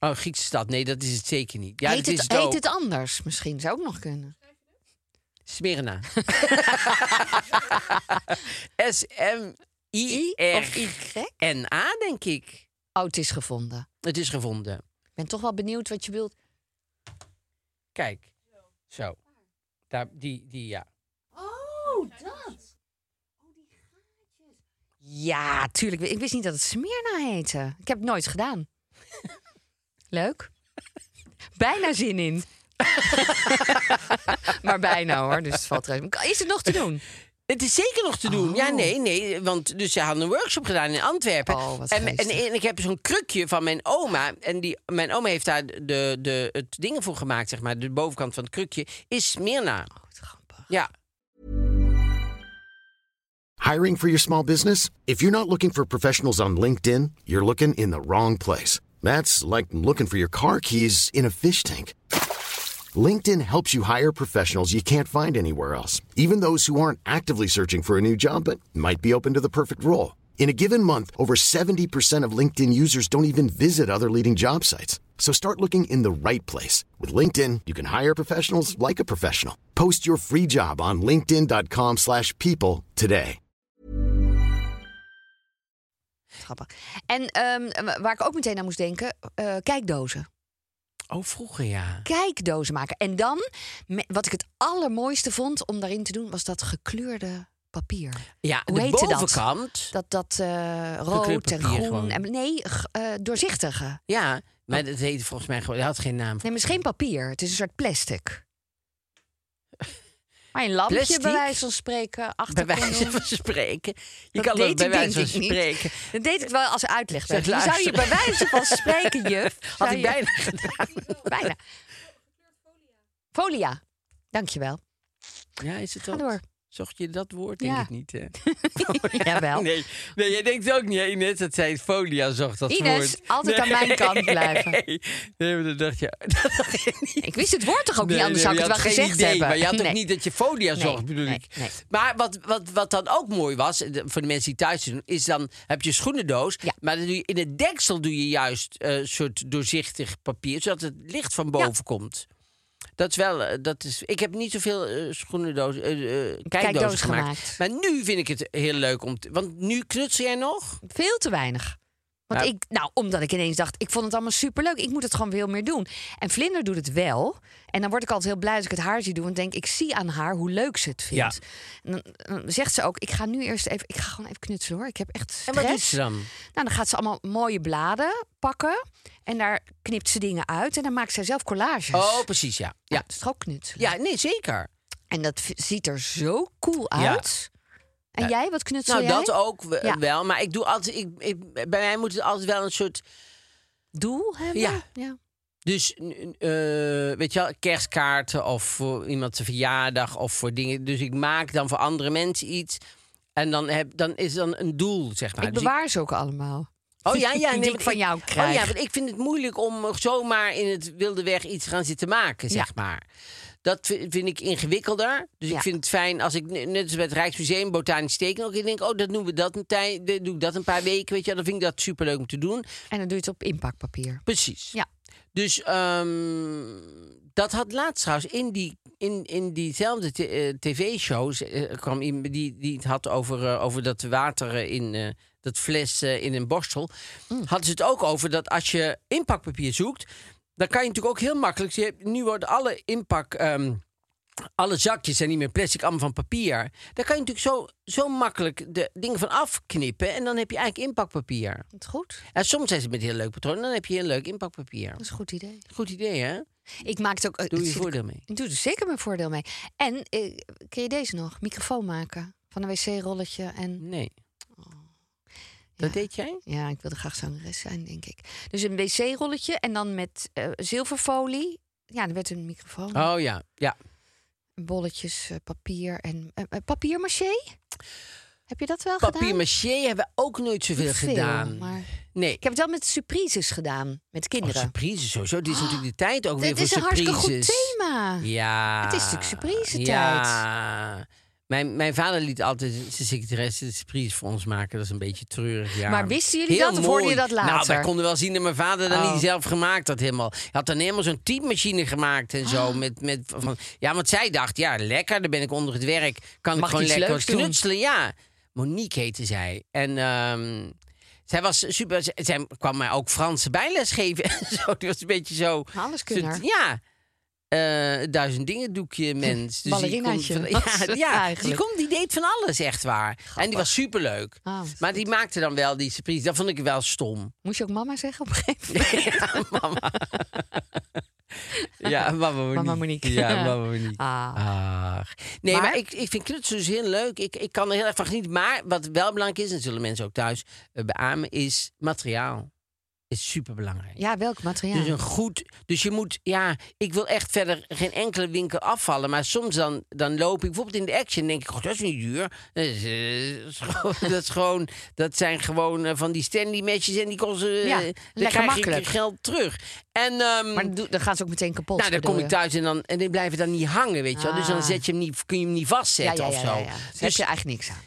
B: Oh, Griekse stad. Nee, dat is het zeker niet. Ja,
A: heet,
B: dat is
A: het,
B: het
A: heet
B: ook.
A: het anders? Misschien zou ook nog kunnen.
B: Smyrna. S-M-I-R-N-A, denk ik.
A: Oh, het is gevonden.
B: Het is gevonden.
A: Ik ben toch wel benieuwd wat je wilt.
B: Kijk. Zo. Daar, die, die, ja.
A: Oh, dat. Ja, tuurlijk. Ik wist niet dat het Smyrna heette. Ik heb het nooit gedaan. Leuk. Bijna zin in. maar bijna hoor, dus het valt eruit. Is het nog te doen?
B: Het is zeker nog te doen. Ja, nee, nee. Want dus ze hadden een workshop gedaan in Antwerpen.
A: Oh, wat
B: en, en,
A: geestig.
B: en ik heb zo'n krukje van mijn oma. En die, mijn oma heeft daar de, de, het dingen voor gemaakt, zeg maar. De bovenkant van het krukje is Smyrna.
A: Oh,
B: Ja.
C: Hiring for your small business? If you're not looking for professionals on LinkedIn, you're looking in the wrong place. That's like looking for your car keys in a fish tank. LinkedIn helps you hire professionals you can't find anywhere else, even those who aren't actively searching for a new job but might be open to the perfect role. In a given month, over 70% of LinkedIn users don't even visit other leading job sites. So start looking in the right place. With LinkedIn, you can hire professionals like a professional. Post your free job on linkedin.com/people slash people today.
A: Grappig. En ehm, waar ik ook meteen aan moest denken, eh, kijkdozen.
B: Oh, vroeger ja.
A: Kijkdozen maken. En dan, me- wat ik het allermooiste vond om daarin te doen, was dat gekleurde papier.
B: Ja,
A: Hoe
B: de
A: heette dat?
B: bovenkant.
A: Dat dat eh, rood en
B: papier
A: groen.
B: gewoon.
A: En, nee, g- eh, doorzichtige.
B: Ja, maar dat heette volgens mij gewoon... Dat had geen naam.
A: Oh. Nee, maar het is geen papier. Het is een soort plastic. Maar een lampje
B: Plastic?
A: bij wijze van spreken achter
B: Bij
A: kon
B: wijze
A: doen.
B: van spreken. Je
A: Dat
B: kan
A: deed
B: dat bij
A: ik
B: wijze
A: denk
B: van
A: ik niet.
B: spreken.
A: Dat deed ik wel als uitleg. je
B: Zeg,
A: zou je
B: luister.
A: bij wijze van spreken, juf.
B: Had
A: zou
B: ik
A: je-
B: bijna gedaan.
A: bijna. Folia. Dankjewel.
B: Ja, is het
A: Ga door.
B: Zocht je dat woord? Denk
A: Ja.
B: ik niet, hè?
A: Jawel.
B: Nee, nee, jij denkt ook niet, hè, Ines, dat zij het folia zocht, dat
A: Ines,
B: woord.
A: altijd aan mijn kant blijven.
B: Nee, nee maar dat dacht je... Dat dacht je niet.
A: Ik wist het woord toch ook
B: Nee,
A: niet, anders
B: nee,
A: zou ik
B: je
A: het wel
B: had geen
A: gezegd
B: idee,
A: hebben.
B: Maar je had ook
A: Nee.
B: niet dat je folia
A: Nee,
B: zocht, bedoel
A: nee,
B: ik.
A: nee.
B: Maar wat, wat, wat dan ook mooi was, eh, voor de mensen die thuis doen... is dan heb je een schoenendoos,
A: Ja.
B: maar dan doe je, in het deksel doe je juist eh, een soort doorzichtig papier... zodat het licht van boven komt. Dat is wel, eh, dat is, ik heb niet zoveel eh schoenendoos, eh, eh, kijkdozen
A: Kijkdoos
B: gemaakt.
A: gemaakt.
B: Maar nu vind ik het heel leuk om te, Want nu knutsel jij nog?
A: Veel te weinig. Want
B: Maar-
A: ik, nou, omdat ik ineens dacht, ik vond het allemaal superleuk. Ik moet het gewoon veel meer doen. En Vlinder doet het wel. En dan word ik altijd heel blij als ik het haar zie doen. Want ik denk, ik zie aan haar hoe leuk ze het vindt. En dan, dan zegt ze ook, ik ga nu eerst even... Ik ga gewoon even knutselen hoor. Ik heb echt
B: En
A: stress.
B: wat doet ze dan?
A: Nou, dan gaat ze allemaal mooie bladen pakken. En daar knipt ze dingen uit. En dan maakt zij zelf collages.
B: Oh, precies, ja.
A: ja.
B: Ja,
A: Dat is toch ook knutselen?
B: ja nee, zeker.
A: En dat v- ziet er zo cool
B: Ja.
A: uit. En jij, wat knutselt
B: Nou,
A: jij?
B: dat ook we-
A: Ja.
B: wel. Maar ik doe altijd... Ik, ik- bij mij moet het altijd wel een soort...
A: Doel hebben?
B: Ja.
A: ja.
B: Dus, eh, weet je wel, kerstkaarten of voor iemand zijn verjaardag of voor dingen. Dus ik maak dan voor andere mensen iets. En dan, heb, dan is dan een doel, zeg maar.
A: ik
B: Dus
A: bewaar ze ook allemaal.
B: Oh ja, ja.
A: Die
B: nee,
A: ik
B: want
A: van jou krijg.
B: Oh ja, want ik vind het moeilijk om eh, zomaar in het wilde weg iets gaan zitten maken, zeg maar. Dat vi- vind ik ingewikkelder. Dus
A: Ja.
B: ik vind het fijn als ik, ne- net als bij het Rijksmuseum, botanisch tekenen, ook ik denk, oh, dat doen we dat een tijd, dat doe ik dat een paar weken, weet je, wel. dan vind ik dat superleuk om te doen.
A: En dan doe je het op inpakpapier.
B: Precies.
A: Ja.
B: Dus ehm, dat had laatst trouwens in, die, in, in diezelfde t- eh, tv-show eh, kwam iemand die, die het had over, eh, over dat water eh, in eh, dat fles eh, in een borstel. Hadden ze het ook over dat als je inpakpapier zoekt, dan kan je natuurlijk ook heel makkelijk. Je hebt- nu worden alle inpak. ehm, alle zakjes zijn niet meer plastic, allemaal van papier. Daar kan je natuurlijk zo, zo makkelijk de dingen van afknippen. En dan heb je eigenlijk inpakpapier.
A: Is goed?
B: En soms zijn ze met heel leuk patroon. Dan heb je heel leuk inpakpapier.
A: Dat is een goed idee.
B: Goed idee, hè?
A: Ik maak het ook. eh,
B: Doe je
A: vind ik-
B: voordeel mee.
A: Ik doe er zeker mijn voordeel mee. En eh, ken je deze nog? Microfoon maken van een wc-rolletje. En
B: Nee. Dat deed jij?
A: Oh. ja, ik wilde graag zangeres zijn, denk ik. Dus een wc-rolletje en dan met eh, zilverfolie. Ja, er werd een microfoon.
B: Oh ja, ja.
A: Bolletjes, eh, papier en eh, eh, papiermaché. Heb je dat wel gedaan?
B: Papier-maché hebben we ook nooit zoveel
A: Niet veel,
B: gedaan.
A: maar-
B: Nee.
A: Ik heb het wel met surprises gedaan, met
B: Oh,
A: kinderen. Oh,
B: surprises sowieso. Dit is natuurlijk de tijd ook weer
A: Dit
B: voor
A: is een
B: surprises.
A: hartstikke goed thema.
B: Ja.
A: Het is natuurlijk surprisetijd.
B: Ja. Mijn, mijn vader liet altijd zijn secretaresse de surprise voor ons maken. Dat is een beetje treurig, ja.
A: Maar wisten jullie dat of hoorden
B: mooi.
A: jullie dat
B: Nou, wij
A: later?
B: konden wel zien dat mijn vader dat
A: Oh.
B: niet zelf gemaakt had helemaal. Hij had dan helemaal zo'n typemachine gemaakt en
A: Ah.
B: zo. Met, met, van, ja, want zij dacht, ja, lekker, dan ben ik onder het werk. Kan
A: Mag
B: ik gewoon
A: iets
B: lekker
A: leuks doen?
B: knutselen, ja. Monique heette zij. En... ehm, zij was super. zij- Zij kwam mij ook Franse bijles geven. en zo. Die was een beetje zo.
A: Alleskunner.
B: soort- Ja. Eh, duizend dingen doekje mens. Dus die komt
A: Ballerinaatje
B: van-
A: was
B: ja,
A: het
B: ja die,
A: eigenlijk.
B: komt, die deed van alles, echt waar. En die was superleuk.
A: Ah,
B: maar die maakte dan wel die surprise. Dat vond ik wel stom.
A: Moest je ook mama zeggen op een gegeven moment?
B: ja, mama. ja, mama Monique.
A: Mama Monique.
B: Ja, mama Monique.
A: Ah.
B: Ach. Nee, maar,
A: Maar-
B: ik, ik vind knutselen dus heel leuk. Ik, ik kan er heel erg van genieten. Maar wat wel belangrijk is, en zullen mensen ook thuis eh, beamen, is materiaal. Is superbelangrijk.
A: Ja, welk materiaal?
B: Dus een goed. Dus je moet. Ja, ik wil echt verder geen enkele winkel afvallen. Maar soms dan, dan loop ik bijvoorbeeld in de action. En denk ik, goh, dat is niet duur. Dat is, eh, dat is gewoon- dat, is gewoon, dat zijn gewoon eh, van die Stanley matches. En die kosten. eh,
A: Ja,
B: dan
A: lekker
B: krijg ik
A: makkelijk.
B: je geld terug. En. ehm,
A: Maar doe- dan gaan ze ook meteen kapot.
B: nou, dan
A: bedoel
B: kom ik
A: je?
B: thuis en dan, en die blijven dan niet hangen, weet je wel. Dus dan
A: Ah.
B: zet je hem niet, kun je hem niet vastzetten
A: ja, ja,
B: of
A: ja,
B: zo.
A: ja, ja. Dus heb
B: Dus
A: je eigenlijk niks aan.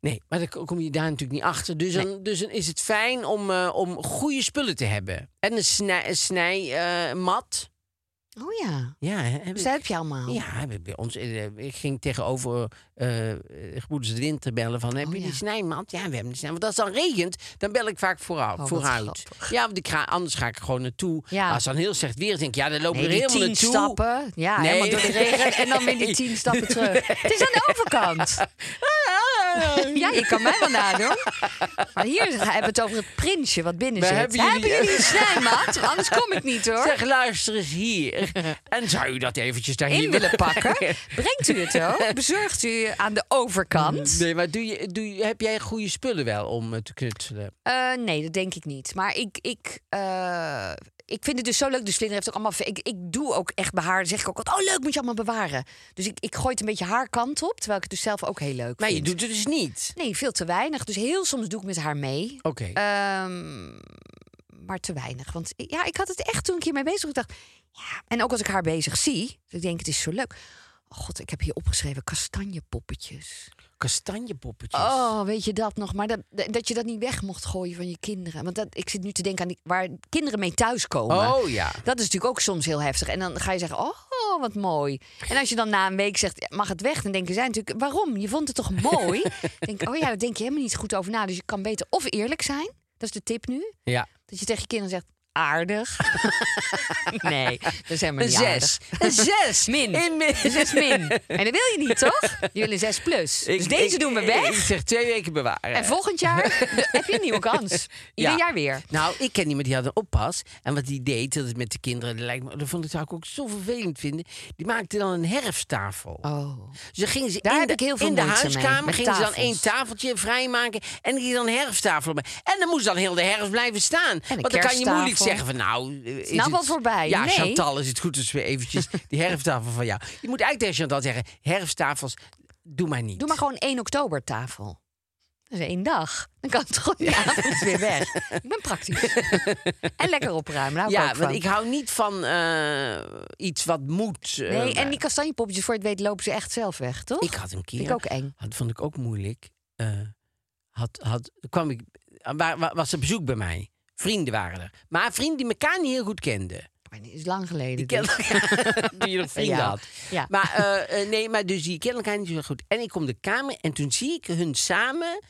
B: Nee, maar dan kom je daar natuurlijk niet achter. Dus, dan, dus dan is het fijn om, eh, om goede spullen te hebben. En een snijmat. Snij, eh, mat.
A: Oh ja,
B: ja, hè, hebben-
A: dus dat heb je allemaal.
B: ja, hebben bij ons, eh, ik ging tegenover eh eh, Gebroeders de Winter bellen van... heb
A: Oh,
B: je die
A: ja.
B: snijmat? Ja, we hebben die snijmat. Want als het dan regent, dan bel ik vaak vooraf,
A: Oh, wat
B: vooruit.
A: grappig.
B: Ja, want ik ga, anders ga ik er gewoon naartoe.
A: Ja.
B: Als het dan heel slecht weer is, denk ik... ja, dan loop ik
A: Nee,
B: er
A: die
B: helemaal
A: tien
B: naartoe.
A: stappen. Ja,
B: Nee.
A: helemaal door de regen. En dan weer die tien stappen terug. Het is aan de overkant.
B: Ah,
A: Ja, je kan mij wel nadoen. Maar hier hebben we het over het prinsje wat binnen
B: Maar
A: zit.
B: hebben jullie- eh,
A: een snijmaat? Anders kom ik niet hoor.
B: Zeg, luister eens hier. En zou u dat eventjes daar
A: In
B: hier
A: willen pakken. Brengt u het ook? Bezorgt u aan de overkant?
B: Nee, maar doe je, doe je, heb jij goede spullen wel om eh, te knutselen?
A: Eh, nee, dat denk ik niet. Maar ik, ik, eh, ik vind het dus zo leuk. Dus Vlinder heeft ook allemaal. Ik, ik doe ook echt behaar. Dan Zeg ik ook altijd, oh leuk, moet je allemaal bewaren. Dus ik, ik gooi het een beetje haar kant op. Terwijl ik het dus zelf ook heel leuk
B: Maar je
A: vind.
B: doet het dus niet.
A: Nee, veel te weinig. Dus heel soms doe ik met haar mee.
B: Oké.
A: Ehm, maar te weinig. Want ik- ja, ik had het echt toen ik hiermee bezig was. Ik dacht, ja. En ook als ik haar bezig zie, ik denk, het is zo leuk. Oh god, ik heb hier opgeschreven kastanjepoppetjes.
B: Kastanjepoppetjes.
A: Oh, weet je dat nog? Maar dat, dat je dat niet weg mocht gooien van je kinderen. Want dat, ik zit nu te denken aan die, waar kinderen mee thuiskomen.
B: Oh, ja.
A: Dat is natuurlijk ook soms heel heftig. En dan ga je zeggen, oh, wat mooi. En als je dan na een week zegt, mag het weg? Dan denken zij natuurlijk, waarom? Je vond het toch mooi? Ik denk, oh ja, daar denk je helemaal niet goed over na. Dus je kan beter of eerlijk zijn. Dat is de tip nu.
B: Ja.
A: Dat je tegen je kinderen zegt, aardig. nee, dat is helemaal
B: Een
A: niet
B: zes.
A: aardig.
B: Een zes.
A: Min.
B: Een min.
A: Een zes min. En dat wil je niet, toch? Je wil een zes plus.
B: Ik-
A: dus deze
B: ik-
A: doen we
B: Ik
A: weg.
B: zeg twee weken bewaren.
A: En volgend jaar heb je een nieuwe kans. Ieder
B: Eh. Ja.
A: jaar weer.
B: Nou, ik ken iemand die had een oppas. En wat die deed, dat is met de kinderen, dat, lijkt me, dat vond ik zou ik ook zo vervelend vinden. Die maakte dan een herfsttafel.
A: Oh.
B: Dus dan gingen ze
A: Daar
B: in
A: heb
B: de,
A: ik heel veel
B: in de
A: moeite mee,
B: huiskamer
A: met
B: gingen ze dan
A: tafels.
B: één tafeltje vrijmaken en die dan een herfsttafel op. En dan moest dan heel de herfst blijven staan.
A: een
B: Want dan kan je
A: kersttafel.
B: moeilijk zeggen van nou, eh, is
A: nou
B: het-
A: wel voorbij.
B: Ja,
A: Nee.
B: Chantal, is het goed als we eventjes die herfsttafel van jou. Je moet eigenlijk tegen Chantal zeggen: herfsttafels, doe maar niet.
A: Doe maar gewoon 1 oktober tafel. Dat is één dag. Dan kan het gewoon die avond weer weg. Ik ben praktisch. en lekker opruimen. Daar hou ik
B: ja,
A: ook
B: want
A: van.
B: ik hou niet van eh, iets wat moet. eh,
A: Nee, en
B: maar-
A: die kastanjepoppetjes, voor je het weet, lopen ze echt zelf weg, toch?
B: Ik had een keer.
A: Vind ik ook eng.
B: Dat vond ik ook moeilijk. eh, had, had, kwam ik, waar, waar- was er bezoek bij mij. Vrienden waren er. Maar vrienden die elkaar niet heel goed kenden.
A: Maar dit is lang geleden.
B: Die kenden
A: dit.
B: elkaar. die je nog vrienden
A: Ja.
B: had.
A: Ja.
B: Maar, eh, eh, nee, maar dus die kenden elkaar niet zo goed. En ik kom de kamer en toen zie ik hun samen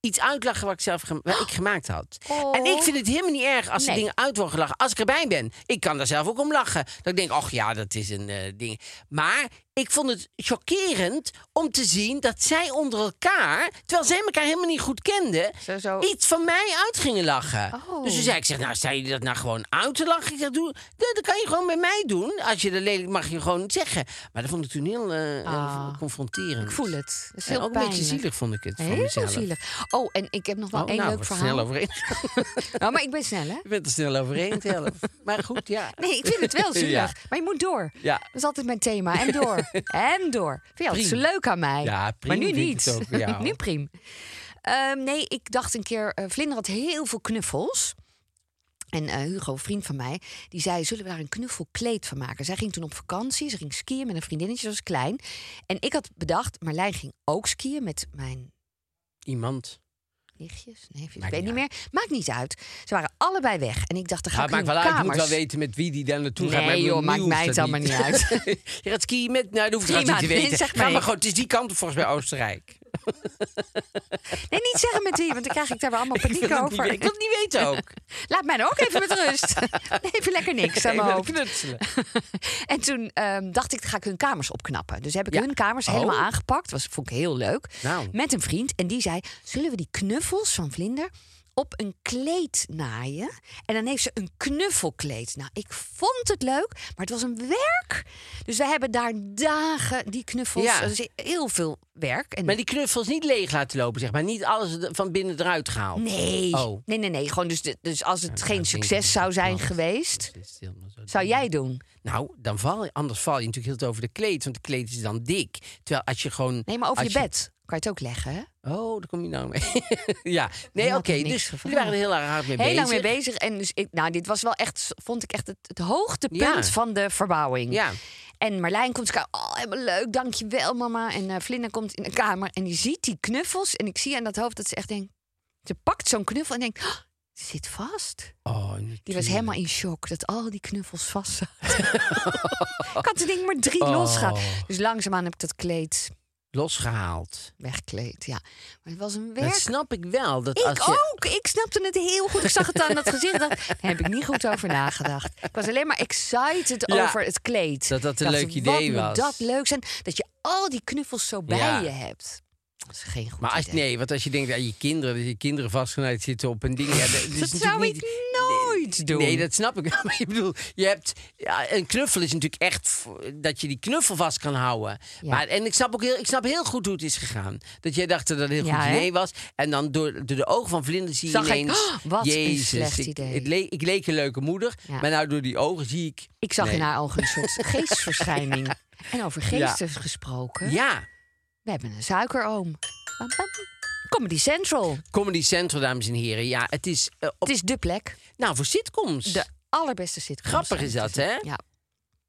B: iets uitlachen wat ik zelf gem- wat ik gemaakt had.
A: Oh.
B: En ik vind het helemaal niet erg als
A: Nee.
B: er dingen uit worden gelachen. Als ik erbij ben, ik kan daar zelf ook om lachen. Dat ik denk, ach ja, dat is een eh, ding. Maar ik vond het chockerend om te zien dat zij onder elkaar, terwijl zij elkaar helemaal niet goed kenden,
A: Zo, zo. Oh.
B: iets van mij uit gingen lachen. Dus toen zei ik, zeg, nou, sta je dat nou gewoon uit te lachen? Ik zeg, doe, dat, dat kan je gewoon bij mij doen. Als je dat lelijk mag je gewoon zeggen. Maar dat vond ik toen heel eh, eh, confronterend.
A: Ah. Ik voel het. Dat is
B: En
A: heel
B: Eh, ook een beetje
A: pijnlijk.
B: zielig vond ik het van
A: Heel
B: mezelf.
A: zielig. Oh, en ik heb nog wel
B: Oh,
A: één
B: nou,
A: leuk
B: wat
A: verhaal.
B: snel overeen.
A: Nou, maar ik ben snel, hè?
B: Je bent er snel overheen, Telf. Maar goed, ja.
A: Nee, ik vind het wel zielig.
B: Ja.
A: Maar je moet door.
B: Ja.
A: Dat is altijd mijn thema. En door. en door. Vind je altijd zo
B: Priem.
A: leuk aan mij?
B: Ja,
A: maar
B: priem
A: nu
B: vind ik
A: niet.
B: het ook bij jou.
A: nu priem. Ehm, nee, ik dacht een keer... eh, Vlinder had heel veel knuffels. En eh, Hugo, een vriend van mij, die zei... zullen we daar een knuffelkleed van maken? Zij ging toen op vakantie. Ze ging skiën met een vriendinnetje. Ze was klein. En ik had bedacht... Marlijn ging ook skiën met mijn
B: Iemand.
A: nichtjes. Neefjes, ik
B: Maakt
A: weet niet
B: niet
A: meer. Maakt niet uit. Ze waren allebei weg. En ik dacht, dan ga
B: Maar
A: ik
B: het maakt
A: in
B: wel
A: hun
B: uit. Je moet
A: kamers.
B: wel weten met wie die daar naartoe gaat.
A: Nee,
B: ik bedoel,
A: joh, maakt
B: nieuws
A: mij het
B: dat
A: allemaal niet uit.
B: je gaat skiën met... Nou, dat hoeft
A: Prima,
B: trouwens niet te
A: nee,
B: weten.
A: zeg
B: Ga
A: maar.
B: maar gewoon. Het is die kant op volgens mij Oostenrijk.
A: Nee, niet zeggen met wie, want dan krijg ik daar weer allemaal
B: Ik
A: paniek
B: wil, het niet,
A: over.
B: weten. ik wil het niet weten ook.
A: Laat mij nou ook even met rust. Even lekker niks aan
B: Ik
A: mijn
B: wil
A: hoofd.
B: knutselen.
A: En toen ehm, dacht ik, dan ga ik hun kamers opknappen. Dus heb ik
B: Ja.
A: hun kamers
B: Oh.
A: helemaal aangepakt. Was, vond ik heel leuk.
B: Nou.
A: Met een vriend. En die zei, zullen we die knuffels van Vlinder op een kleed naaien? En dan heeft ze een knuffelkleed. Nou, ik vond het leuk, maar het was een werk. Dus we hebben daar dagen die knuffels.
B: Ja.
A: Dus heel veel werk. En
B: Maar die knuffels niet leeg laten lopen, zeg maar. Niet alles er- van binnen eruit gehaald.
A: Nee.
B: Oh.
A: Nee, nee, nee. Gewoon dus, de- dus als het geen
B: ik denk
A: succes
B: Oh, dat
A: zou
B: het
A: zijn
B: wel-
A: geweest,
B: Dit is helemaal zo.
A: zou jij doen?
B: Nou, dan val je, anders val je natuurlijk heel het over de kleed. Want de kleed is dan dik. Terwijl als je gewoon...
A: Nee, maar over je
B: als
A: bed kan je het ook leggen. hè?
B: Oh, daar kom je nou mee. ja, nee, oké.
A: had ik niks
B: dus
A: gevraagd.
B: jullie waren er heel erg hard mee
A: Heel
B: bezig.
A: lang mee bezig. En dus ik, nou, dit was wel echt, vond ik echt het, het hoogtepunt
B: Ja.
A: van de verbouwing.
B: Ja.
A: En Marlijn komt, ze oh, helemaal leuk, dankjewel mama. En eh Vlinder komt in de kamer en die ziet die knuffels. En ik zie aan dat hoofd dat ze echt denkt, ze pakt zo'n knuffel en denkt, "Oh, zit vast.
B: Oh,
A: Die was
B: natuurlijk.
A: helemaal in shock dat al die knuffels vast zaten. ik had er denk ik maar
B: Oh.
A: drie losgaan. Dus langzaamaan heb ik dat kleed
B: losgehaald.
A: wegkleed, ja. Maar het was een
B: Dat
A: werk.
B: snap ik wel. Dat
A: Ik
B: als je,
A: ook. Ik snapte het heel goed. Ik zag het aan dat gezicht. Daar heb ik niet goed over nagedacht. Ik was alleen maar excited
B: Ja,
A: over het kleed.
B: dat dat een
A: Ik
B: leuk idee
A: wat moet
B: was.
A: dat leuk zijn. Dat je al die knuffels zo bij
B: Ja.
A: je hebt. Dat is geen goed
B: Maar als,
A: idee.
B: nee, want als je denkt aan je kinderen, dat je kinderen vastgenaaid zitten op een ding. Ja, dat is
A: dat
B: natuurlijk
A: zou
B: niet-
A: ik nooit doen.
B: Nee, dat snap ik. wel. Maar ik bedoel, je hebt, ja, een knuffel is natuurlijk echt voor- dat je die knuffel vast kan houden.
A: Ja.
B: Maar, en ik snap ook heel, ik snap heel goed hoe het is gegaan. Dat jij dacht dat het een heel
A: Ja,
B: goed
A: hè?
B: idee was. En dan door, door de ogen van vlinders zie je
A: Zag ik,
B: ineens...
A: "Oh, wat een
B: Jezus,
A: slecht
B: ik,
A: idee."
B: het le- ik leek een leuke moeder,
A: Ja.
B: maar nou door die ogen zie ik...
A: Ik zag
B: Nee.
A: in haar ogen een soort geestverschijning. En over geesten gesproken.
B: Ja,
A: We hebben een suikeroom. Bam, bam. Comedy Central.
B: Comedy Central, dames en heren. Ja, het is... eh, op,
A: Het is de plek.
B: nou, voor sitcoms.
A: De allerbeste sitcom.
B: Grappig is dat, hè?
A: Ja.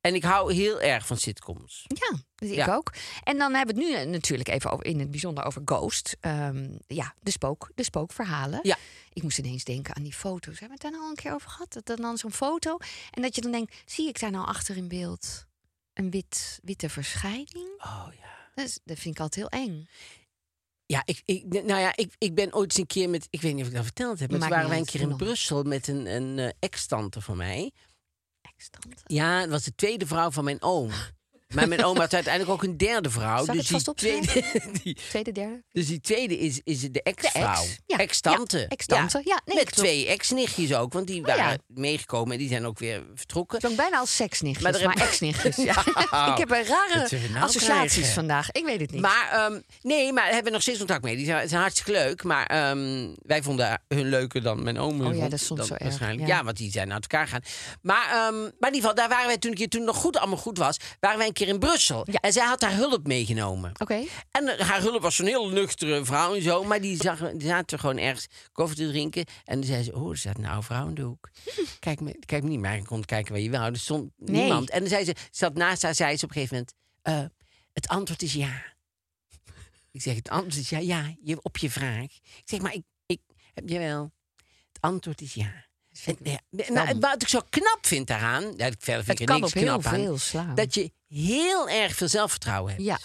B: En ik hou heel erg van sitcoms.
A: Ja, dus ik
B: Ja.
A: ook. En dan hebben we het nu eh, natuurlijk even over, in het bijzonder over Ghost. Ehm, ja, de, spook, de spookverhalen.
B: Ja.
A: Ik moest ineens denken aan die foto's. Hebben we het daar nou al een keer over gehad? Dat dan zo'n foto. En dat je dan denkt, zie ik daar nou achter in beeld een wit, witte verschijning?
B: Oh ja.
A: Dat, is- dat vind ik altijd heel eng.
B: Ja, ik, ik, nou ja, ik, ik ben ooit eens een keer met... Ik weet niet of ik dat verteld heb, maar toen
A: Maakt
B: waren
A: niet
B: wij een
A: uit,
B: keer
A: doe
B: in
A: maar.
B: Brussel met een, een eh, ex-tante van mij.
A: Ex-tante.
B: Ja, dat was de tweede vrouw van mijn oom. Maar mijn oom had uiteindelijk ook een derde vrouw.
A: Zal ik
B: dus,
A: het vast
B: die tweede, die,
A: Tweede, derde?
B: dus die tweede is, is de ex-vrouw.
A: ex, ja.
B: Ex-tante.
A: Ja, ex-tante. Ja, nee,
B: met
A: klopt. Oh,
B: twee ex-nichtjes ook, want die
A: ja.
B: waren meegekomen en die zijn ook weer vertrokken.
A: Klonk bijna als seksnichtjes,
B: Maar
A: maar,
B: er heb-
A: ex-nichtjes. Ja.
B: Nou,
A: ik heb een rare
B: wat zullen we nou
A: associaties
B: krijgen?
A: vandaag. Ik weet het niet.
B: Maar ehm, nee, maar daar hebben we nog steeds contact mee. Die zijn, zijn hartstikke leuk. Maar ehm, wij vonden hun leuker dan mijn oom. hun
A: Oh ja,
B: vond.
A: dat is soms zo erg,
B: Waarschijnlijk.
A: ja.
B: Ja. want die zijn uit elkaar gegaan. Maar, ehm, maar in ieder geval, daar waren wij toen, een keer, toen het nog goed, allemaal goed was, waren wij een keer in Brussel.
A: Ja.
B: En zij had haar hulp meegenomen.
A: Oké.
B: En eh, haar hulp was zo'n heel nuchtere vrouw en zo. Maar die, zag, die zaten gewoon ergens koffie te drinken. En toen zei ze, oh, er staat een oude vrouw in de hoek. Kijk me, kijk me niet, maar ik kon kijken waar je wou. Er stond
A: Nee.
B: niemand. En toen zei ze, zat naast haar, zei ze op een gegeven moment... eh, het antwoord is ja. Ik zeg, het antwoord is ja, ja, je, op je vraag. Ik zeg, maar ik, ik, heb je wel. Het antwoord is ja. En, ja, nou, wat ik zo knap vind daaraan, ja, verder vind
A: eh, Het
B: ik er
A: kan
B: niks
A: op heel
B: knap aan,
A: veel slaan.
B: dat je heel erg veel zelfvertrouwen hebt.
A: Ja.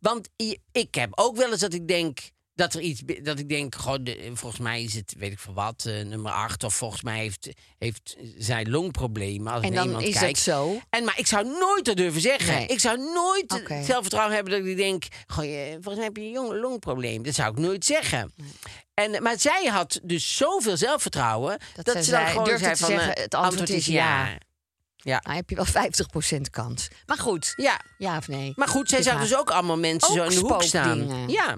B: Want je- ik heb ook wel eens dat ik denk, dat er iets, bi- dat ik denk, gewoon, de- volgens mij is het, weet ik veel wat, eh, nummer 8 of volgens mij heeft, heeft zij longproblemen. Als
A: En
B: naar
A: dan
B: iemand
A: is dat
B: kijkt.
A: zo? Nou,
B: En, maar ik zou nooit dat durven zeggen.
A: Nee.
B: Ik zou nooit het
A: Oké.
B: zelfvertrouwen hebben dat ik denk, goh, je- volgens mij heb je een jong- longprobleem. Dat zou ik nooit zeggen. En, maar zij had dus zoveel zelfvertrouwen dat,
A: Dat
B: ze
A: zij
B: dan
A: zei-
B: gewoon
A: durfde
B: zei
A: te
B: van, eh,
A: zeggen, het antwoord is ja.
B: Ja.
A: Nou heb je wel 50% kans. Maar goed,
B: Ja,
A: ja of nee?
B: maar goed, zij
A: Je
B: zag
A: vraagt-
B: dus ook allemaal mensen zo
A: Ook
B: in de hoek staan.
A: spookdingen.
B: Ja.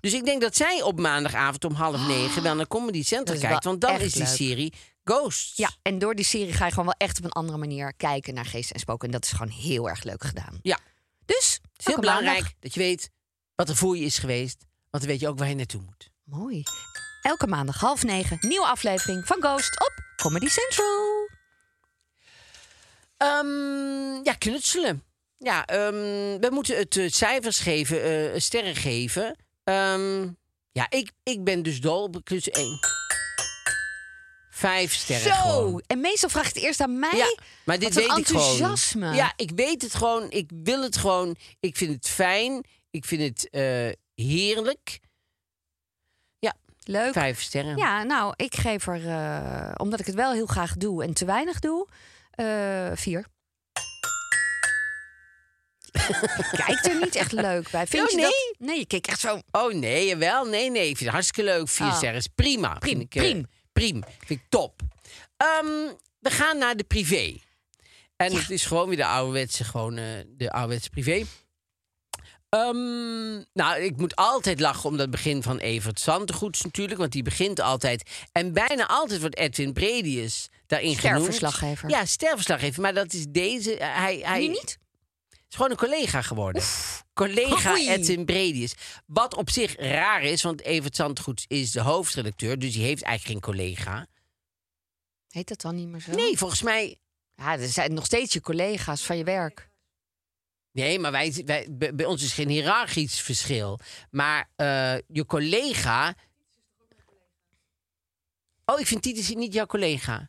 B: Dus ik denk dat zij op maandagavond om half negen wel naar Comedy Central
A: Dat is wel
B: kijkt. Want dan
A: echt
B: is die
A: leuk.
B: serie Ghosts.
A: Ja, en door die serie ga je gewoon wel echt op een andere manier kijken naar geesten en spoken. En dat is gewoon heel erg leuk gedaan.
B: Ja.
A: Dus,
B: Het is heel
A: elke
B: belangrijk
A: maandag-
B: dat je weet wat er voor je is geweest. Want dan weet je ook waar je naartoe moet.
A: mooi. Elke maandag half negen, nieuwe aflevering van Ghost op Comedy Central.
B: Ehm, ja, knutselen. Ja, ehm, we moeten het eh, cijfers geven, eh, sterren geven. Ehm, ja, ik, ik ben dus dol op knutselen. Eén. Vijf sterren
A: Zo,
B: gewoon.
A: en meestal vraagt het eerst aan mij.
B: Ja, maar dit
A: Wat
B: weet
A: een
B: ik
A: enthousiasme.
B: gewoon. Ja, ik weet het gewoon. Ik wil het gewoon. Ik vind het fijn. Ik vind het eh, heerlijk. Ja,
A: Leuk.
B: vijf sterren.
A: Ja, nou, ik geef er, eh, omdat ik het wel heel graag doe en te weinig doe, eh, vier. Ik Kijk er niet echt leuk bij. Vind
B: Oh,
A: je
B: nee?
A: dat? Nee, je keek echt zo.
B: Oh nee, jawel. Nee, nee. Ik vind het hartstikke leuk. Vier
A: Ah.
B: sterren is prima.
A: Priem,
B: Vind ik, eh,
A: priem.
B: priem. Vind ik top. Ehm, we gaan naar de privé. En het is gewoon weer de ouderwetse, gewoon, eh, de ouderwetse privé. Ehm, nou, ik moet altijd lachen om dat begin van Evert Zandegoeds natuurlijk. Want die begint altijd. En bijna altijd wordt Edwin Bredius daarin
A: Sterverslaggever.
B: genoemd. Ja, sterverslaggever. Maar dat is deze. eh, Hij, hij,
A: Nu niet?
B: is gewoon een collega geworden. Collega
A: Oei.
B: Edwin Bredius. Wat op zich raar is, want Evert Zandgoed is de hoofdredacteur. Dus die heeft eigenlijk geen collega.
A: Heet dat dan niet meer zo?
B: Nee, volgens mij...
A: Ja, er zijn nog steeds je collega's van je werk.
B: Nee, maar wij, wij, bij bij ons is geen hiërarchisch verschil. Maar eh, je collega... Oh, ik vind Titus niet jouw collega.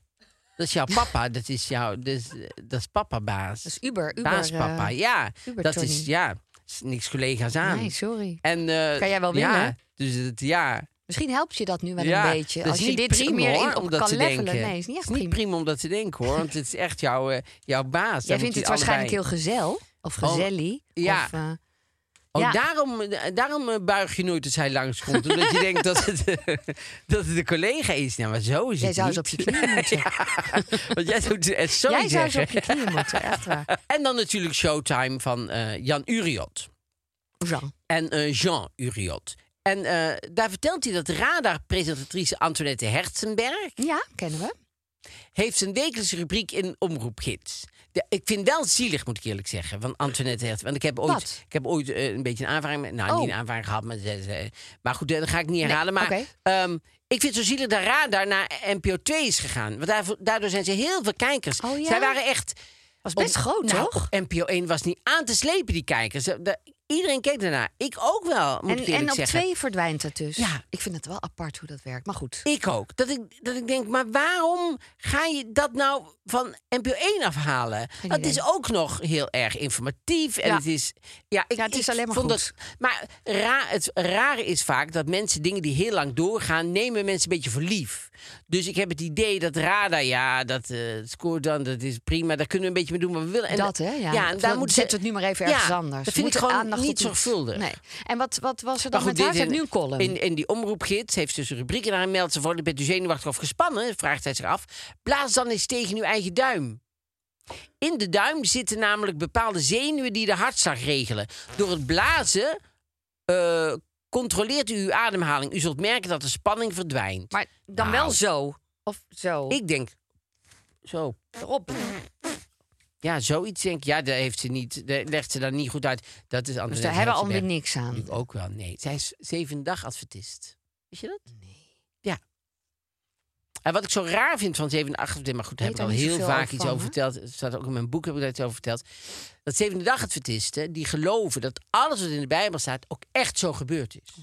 B: Dat is jouw papa. Dat is jouw... Dat is, dat is papa-baas.
A: Dat is Uber. Uber
B: Baas-papa,
A: eh,
B: ja.
A: Uber
B: dat
A: Tony.
B: is... Ja, is niks collega's aan.
A: Nee, sorry.
B: En, eh,
A: Kan jij wel
B: Ja,
A: winnen?
B: dus het, ja.
A: Misschien helpt je dat nu wel
B: ja,
A: een beetje.
B: dat
A: Als
B: is
A: je
B: niet
A: dit
B: prima,
A: meer
B: hoor,
A: in, op
B: om dat
A: kan
B: te
A: levelen.
B: denken.
A: Nee, is niet echt
B: Het is
A: prima.
B: niet prima om dat te denken hoor, want het is echt jouw, eh, jouw
A: Jij
B: baas. Daar
A: vindt
B: moet je
A: het waarschijnlijk
B: allebei-
A: heel gezel. Of
B: Oh,
A: gezellig.
B: ja.
A: Of, eh,
B: Oh,
A: ja.
B: daarom, eh, daarom eh, buig je nooit als hij langskomt. Omdat je denkt dat het, eh, dat het een collega is. Nou, maar zo is
A: jij
B: het
A: zou eens op
B: niet.
A: je knieën moeten.
B: Want jij doet het zo
A: Jij zou eens
B: zeggen.
A: op je knieën moeten, echt waar.
B: En dan natuurlijk Showtime van eh, Jan Uriot.
A: Jean.
B: en eh, Jean Uriot. En eh, daar vertelt hij dat radarpresentatrice Antoinette Herzenberg...
A: Ja, kennen we.
B: heeft zijn wekelijkse rubriek in Omroep Gids. De- ik vind wel zielig, moet ik eerlijk zeggen, van Antoinette Hert. Want ik heb ooit,
A: Wat?
B: ik heb ooit eh, een beetje een aanvaring... met- Nou,
A: Oh.
B: niet een aanvaring gehad, maar, ze- ze- maar goed, eh, dat ga ik niet herhalen. maar
A: oké.
B: ehm, ik vind het zo zielig dat Radar naar NPO 2 is gegaan. Want daarvoor- daardoor zijn ze heel veel kijkers.
A: Oh, ja?
B: Zij waren echt...
A: Was best
B: op-
A: groot,
B: nou,
A: toch?
B: op NPO 1 was niet aan te slepen, die kijkers. Eh, da- Iedereen keek daarnaar. Ik ook wel, moet
A: En,
B: ik
A: en
B: eerlijk
A: op
B: zeggen.
A: twee verdwijnt het dus.
B: Ja.
A: Ik vind het wel apart hoe dat werkt. Maar goed.
B: Ik ook. Dat ik, dat ik denk, maar waarom ga je dat nou van NPO 1 afhalen? Want het is ook nog heel erg informatief. En
A: Ja.
B: het is, ja, ik,
A: Ja, het is
B: ik
A: alleen maar
B: vond
A: goed.
B: Dat, maar raar, het rare is vaak dat mensen dingen die heel lang doorgaan... nemen mensen een beetje voor lief. Dus ik heb het idee dat Radar, ja, dat eh, scoort dan, dat is prima. Daar kunnen we een beetje mee doen wat we willen. En
A: dat, hè? Ja,
B: en daar moeten
A: moeten
B: ze-
A: zetten we het nu maar even
B: Ja,
A: ergens anders.
B: dat
A: We
B: vind ik
A: moeten
B: gewoon
A: aandacht
B: niet
A: op iets-
B: zorgvuldig.
A: Nee. En wat, wat was er dan
B: Maar
A: met haar? Ze
B: dit
A: heeft nu een column.
B: In, in die omroepgids heeft ze dus een rubriek en daarin meldt ze voor... bent u zenuwachtig of gespannen, vraagt hij zich af. Blaas dan eens tegen uw eigen duim. In de duim zitten namelijk bepaalde zenuwen die de hartslag regelen. Door het blazen eh, controleert u uw ademhaling. U zult merken dat de spanning verdwijnt.
A: Maar dan
B: Nou.
A: wel zo. Of zo. Dus
B: ik denk... Zo,
A: Erop.
B: ja, zoiets denk ik. Ja, daar heeft ze niet, daar legt ze daar niet goed uit. Dat is anders.
A: Dus daar hebben we alweer niks aan.
B: Ik ook wel, nee. Zij is zeven dag adventist. Weet je dat? Nee. Ja. En wat ik zo raar vind van zeven dag adventist... maar goed, daar heb
A: Weet
B: ik al
A: daar niet
B: heel
A: zoveel
B: vaak
A: over
B: iets
A: van,
B: over
A: hè?
B: verteld. Het staat ook in mijn boek, heb ik daar iets over verteld. Dat zevende dag adventisten, die geloven dat alles wat in de Bijbel staat... ook echt zo gebeurd is.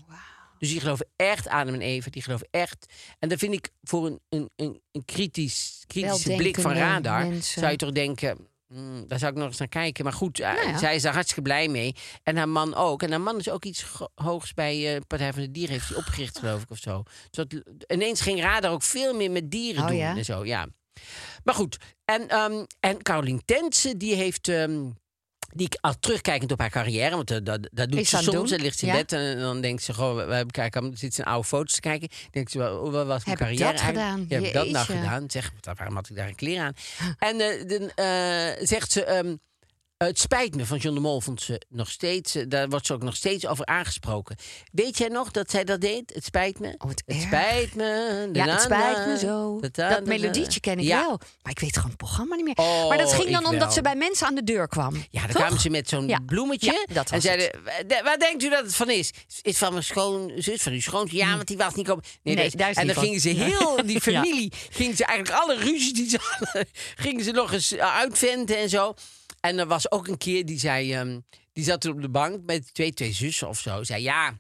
B: Dus die geloven echt Adam en Eva, die geloven echt. En dat vind ik voor een, een, een, een kritisch, kritische blik van
A: Weldenkende
B: radar...
A: mensen.
B: zou je toch denken, Mm, daar zou ik nog eens naar kijken. Maar goed,
A: Nou
B: eh, zij is daar hartstikke blij mee. En haar man ook. En haar man is ook iets gro- hoogs bij eh Partij van de Dieren. Heeft hij opgericht, geloof ik, of zo. Dus dat, ineens ging Radar ook veel meer met dieren
A: Oh,
B: doen.
A: ja?
B: En zo, ja. Maar goed. En, ehm en Carolien Tense, die heeft... ehm, die al terugkijkend op haar carrière, want eh, dat, dat doet
A: Is
B: ze
A: aan het
B: soms.
A: doen,
B: Dan ligt ze in
A: ja.
B: bed en, en dan denkt ze gewoon, we hebben kijken, dan zit ze naar oude foto's te kijken. Dan denkt ze, wel, oh, wat was mijn
A: Heb ik
B: carrière
A: dat
B: eigenlijk?
A: gedaan?
B: Ja, heb ik dat nou
A: Jeetje.
B: gedaan? Zeg, wat- waarom had ik daar een kleren aan? En eh, dan eh, zegt ze, ehm, het spijt me van John de Mol vond ze nog steeds, eh, daar wordt ze ook nog steeds over aangesproken. Weet jij nog dat zij dat deed? Het spijt me.
A: Oh, wat
B: het
A: erg.
B: spijt me.
A: Ja, het
B: da-da-da,
A: spijt me zo.
B: da-da-da-da.
A: Dat melodietje ken ik
B: ja.
A: wel. Maar ik weet gewoon het programma niet meer.
B: Oh,
A: maar dat ging
B: ik
A: dan omdat
B: wel.
A: ze bij mensen aan de deur kwam.
B: Ja, dan
A: Toch?
B: kwamen ze met zo'n
A: Ja.
B: bloemetje.
A: Ja, dat
B: en
A: was
B: zeiden, "Wa- waar denkt u dat het van is? Is van mijn schoonzus, van uw schoonzus? Ja, want die was niet komen. Nee,
A: Hm. Nee,
B: dus-
A: daar is
B: en
A: niet
B: dan
A: van.
B: gingen ze
A: Ja.
B: heel, die
A: Ja.
B: familie, gingen ze eigenlijk alle ruzies die ze hadden, gingen ze nog eens eh, uitventen en zo. En er was ook een keer, die zei, ehm, die zat er op de bank met twee, twee zussen of zo. Zei, ja,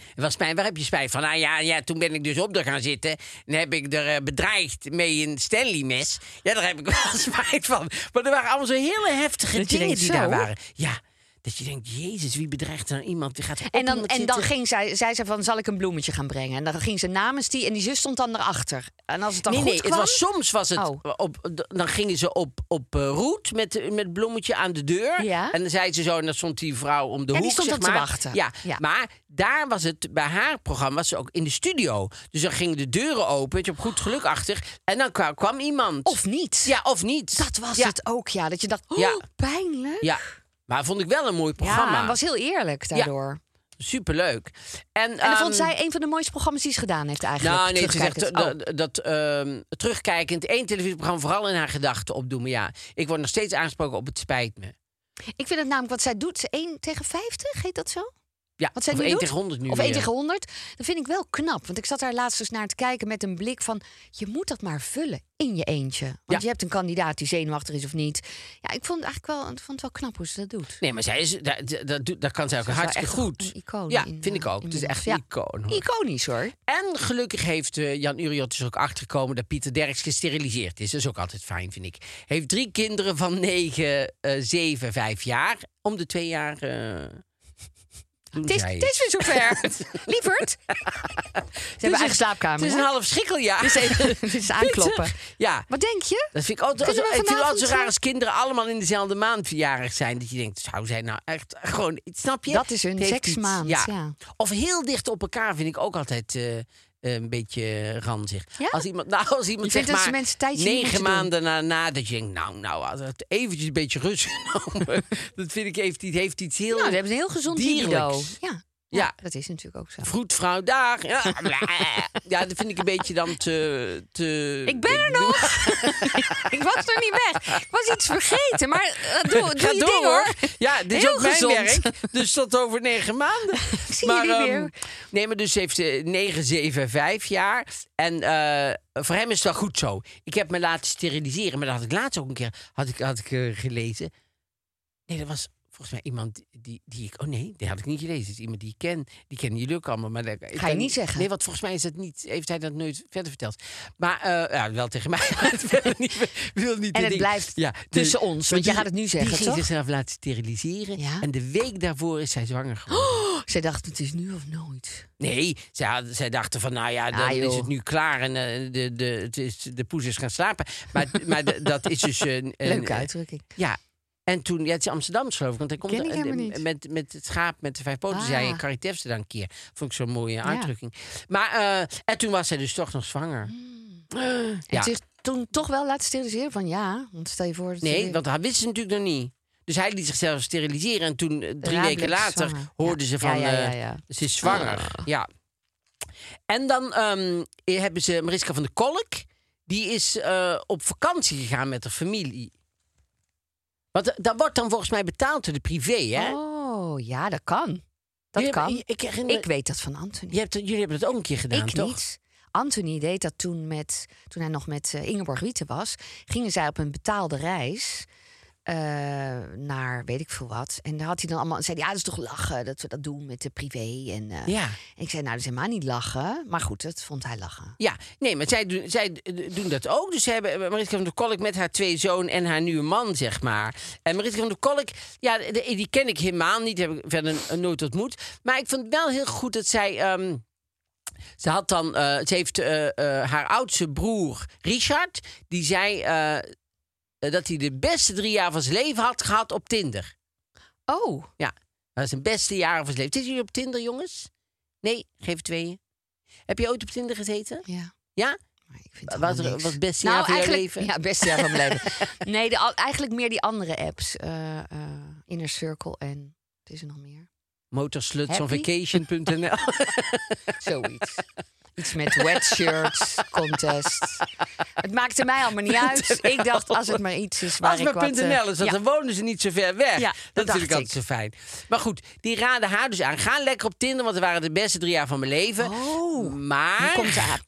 B: het was spijt. Waar heb je spijt van? Nou ja, ja, toen ben ik dus op de gaan zitten. En heb ik er eh, bedreigd mee een Stanley-mes. Ja, daar heb ik wel spijt van. Maar er waren allemaal zo hele heftige
A: Dat je
B: dingen
A: denkt,
B: die
A: zo?
B: daar waren. Ja, dat je denkt, jezus, wie bedreigt er nou iemand? Die gaat op
A: En dan,
B: iemand
A: en dan
B: zitten.
A: ging zij, zei ze van, zal ik een bloemetje gaan brengen? En dan ging ze namens die en die zus stond dan erachter. En als het dan
B: Nee,
A: goed
B: nee,
A: kwam...
B: het was, soms was het...
A: Oh.
B: Op, dan gingen ze op, op eh, roet met, met bloemetje aan de deur.
A: Ja.
B: En dan zei ze zo, en dan stond die vrouw om de
A: En die
B: hoek,
A: stond
B: zeg
A: dan te
B: maar.
A: wachten.
B: Ja.
A: Ja.
B: maar daar was het, bij haar programma was ze ook in de studio. Dus dan gingen de deuren open, weet je, op goed geluk achter. En dan kwam, kwam iemand.
A: Of niet.
B: Ja, of niet.
A: Dat was
B: Ja.
A: het ook, ja. Dat je dacht, oh,
B: Ja.
A: pijnlijk.
B: Ja, maar vond ik wel een mooi programma.
A: Ja, was heel eerlijk daardoor.
B: Superleuk. En,
A: En dat
B: ehm,
A: vond zij een van de mooiste programma's die ze gedaan heeft eigenlijk.
B: Nou, nee, ze zegt
A: terugkijkend. oh.
B: dat, dat, ehm, terugkijkend één televisieprogramma vooral in haar gedachten opdoemen. Ja, ik word nog steeds aangesproken op het spijt me.
A: Oh, ik vind het namelijk wat zij doet. ze 1 tegen 50, heet dat zo?
B: Ja,
A: Wat zij
B: of
A: nu
B: 1
A: doet?
B: tegen 100 nu
A: Of 1
B: weer.
A: tegen 100. Dat vind ik wel knap. Want ik zat daar laatst eens naar te kijken met een blik van... je moet dat maar vullen in je eentje. Want
B: Ja.
A: je hebt een kandidaat die zenuwachtig is of niet. Ja, ik vond het eigenlijk wel, ik vond het wel knap hoe ze dat doet.
B: Nee, maar zij is, dat, dat, doet- dat kan zij ook
A: is wel
B: hartstikke
A: echt
B: goed.
A: een icoon
B: ja,
A: in,
B: vind ik
A: eh,
B: ook. Het is echt een
A: inmiddels.
B: icoon. hoor.
A: Iconisch hoor.
B: En gelukkig heeft eh, Jan Uriot dus ook achtergekomen dat Pieter Derks gesteriliseerd is. Dat is ook altijd fijn, vind ik. Heeft drie kinderen van 9, 7, 5 jaar. Om de twee jaar. eh doen
A: Het is,
B: zij
A: het is weer zover. Lieverd. Ze hebben
B: een-
A: eigen slaapkamer.
B: Het is
A: hè?
B: een half schrikkeljaar.
A: Het is even- het is aankloppen.
B: Ja.
A: Wat denk je?
B: Dat vind ik altijd,
A: Kunnen we
B: ik vind het altijd
A: vanavond,
B: zo raar
A: eh,
B: als kinderen allemaal in dezelfde maand verjarig zijn. Dat je denkt, zou zij nou echt gewoon... Snap je?
A: Dat is hun
B: Het heeft iets,
A: seksmaand, ja.
B: Of heel dicht op elkaar vind ik ook altijd... eh, eh, een beetje ranzig.
A: Ja?
B: Als iemand, nou, als iemand
A: Je vindt
B: zeg
A: dat ze
B: maar
A: mensen tijdje niet
B: negen
A: moeten doen?
B: maanden daarna dat je denkt, nou, nou, had het eventjes een beetje rust genomen. dat vind ik heeft, iets- heeft iets heel.
A: Nou, ze hebben een heel gezond libido.
B: dierlijks.
A: Ja.
B: Ja.
A: ja, dat is natuurlijk ook zo.
B: Vroedvrouw, dag. Ja, ja, dat vind ik een beetje dan te. te
A: Ik ben er nog. ik was nog niet weg. Ik was iets vergeten, maar eh, doe, doe
B: Ga
A: je
B: door
A: ding, hoor.
B: Ja, dit is
A: Heel
B: ook mijn
A: gezond.
B: werk. Dus tot over negen maanden. Ik
A: zie jullie weer.
B: Nee, maar dus heeft ze 9, 7, 5 jaar. En eh, voor hem is het wel goed zo. Ik heb me laten steriliseren. Maar dat had ik laatst ook een keer had ik, had ik, eh, gelezen. Nee, dat was volgens mij iemand die, die ik... Oh nee, die had ik niet gelezen. Het is iemand die ik ken. Die kennen jullie ook allemaal. Maar dat-
A: Ga
B: ik
A: je
B: kan-
A: niet zeggen.
B: Nee, want volgens mij is dat niet, heeft hij dat nooit verder verteld. Maar eh, ja, wel tegen mij. maar het wil niet, wil niet
A: En
B: de
A: het
B: ding-
A: blijft
B: ja, dus-
A: tussen ons, want
B: die-
A: je gaat het nu
B: Die
A: zeggen,
B: ging
A: toch?
B: zichzelf laten steriliseren.
A: Ja. Oh!
B: En de week daarvoor is zij zwanger geworden.
A: Zij dacht, het is nu of nooit.
B: Nee, zij, had- zij dachten van, nou ja, dan
A: Ah, joh.
B: is het nu klaar. En eh, de, de, het is, de poes is gaan slapen. Maar, maar de- dat is dus... Een, een-
A: Leuke uitdrukking.
B: Ja. En toen, ja, het is Amsterdam geloof ik, want hij komt
A: Ken ik
B: eh,
A: helemaal niet.
B: met, met het schaap met de vijf poten,
A: Ah.
B: zei Carrie Tefse dan een keer. Vond ik zo'n mooie uitdrukking. Maar, eh, en toen was zij dus toch nog zwanger.
A: Mm, En
B: Ja.
A: zich toen toch wel laten steriliseren van ja, want stel je voor... dat ze
B: Nee,
A: weer-
B: want dat wist ze natuurlijk nog niet. Dus hij liet zichzelf steriliseren. En toen, eh, drie
A: Raad
B: weken
A: bleek
B: later,
A: zwanger.
B: hoorden
A: Ah, Ja.
B: ze van...
A: Ja, ja, ja,
B: eh,
A: ja.
B: ze is zwanger.
A: Ah.
B: Ja. En dan ehm, hebben ze Mariska van der Kolk. Die is eh, op vakantie gegaan met haar familie. Want eh, dat wordt dan volgens mij betaald door de privé, hè?
A: Oh, ja, dat kan. Dat
B: Jullie-
A: kan.
B: Ik, herinner-
A: Ik weet dat van Anthony.
B: Je hebt, jullie hebben dat ook een keer gedaan,
A: ik
B: toch?
A: niet. Anthony deed dat toen met, toen hij nog met eh, Ingeborg Wieten was. Gingen zij op een betaalde reis. eh, naar weet ik veel wat. En daar had hij dan allemaal. zei hij, ja, dat is toch lachen dat we dat doen met de privé. En, eh,
B: Ja.
A: en ik zei, nou, dat is helemaal niet lachen. Maar goed, dat vond hij lachen.
B: Ja, nee, maar zij, doen- zij eh, doen dat ook. Dus ze hebben Mariska van der Kolk met haar twee zoon en haar nieuwe man, zeg maar. En Mariska van der Kolk, ja, de- die ken ik helemaal niet. Heb ik verder eh, nooit ontmoet. Maar ik vond het wel heel goed dat zij... ehm, ze had dan, eh, ze heeft eh, eh, haar oudste broer Richard, die zei eh, eh, dat hij de beste drie jaar van zijn leven had gehad op Tinder.
A: Oh,
B: Ja, dat is een beste jaren van zijn leven. Zitten jullie op Tinder, jongens? Nee, geef tweeën. Heb je ooit op Tinder gezeten?
A: ja.
B: Ja?
A: Maar ik vind het
B: Wat,
A: allemaal niks.
B: wat het beste
A: nou,
B: jaar van jouw
A: eigenlijk,
B: leven?
A: Ja, het beste jaar van mijn leven. Nee, de, al- eigenlijk meer die andere apps. eh, eh, Inner Circle en wat is er nog meer?
B: Motorslutsonvacation.nl
A: Zoiets. Iets met wetshirts, contest. Het maakte mij allemaal niet uit. Ik dacht, als het maar iets is waar
B: Als
A: ik
B: maar
A: wat... eh,
B: .nl is, dat
A: ja.
B: dan wonen ze niet zo ver weg.
A: Ja, dat
B: dat is natuurlijk
A: dacht
B: altijd zo fijn. Maar goed, die raden haar dus aan. Ga lekker op Tinder, want dat waren de beste drie jaar van mijn leven.
A: Oh,
B: maar
A: nu komt de aap.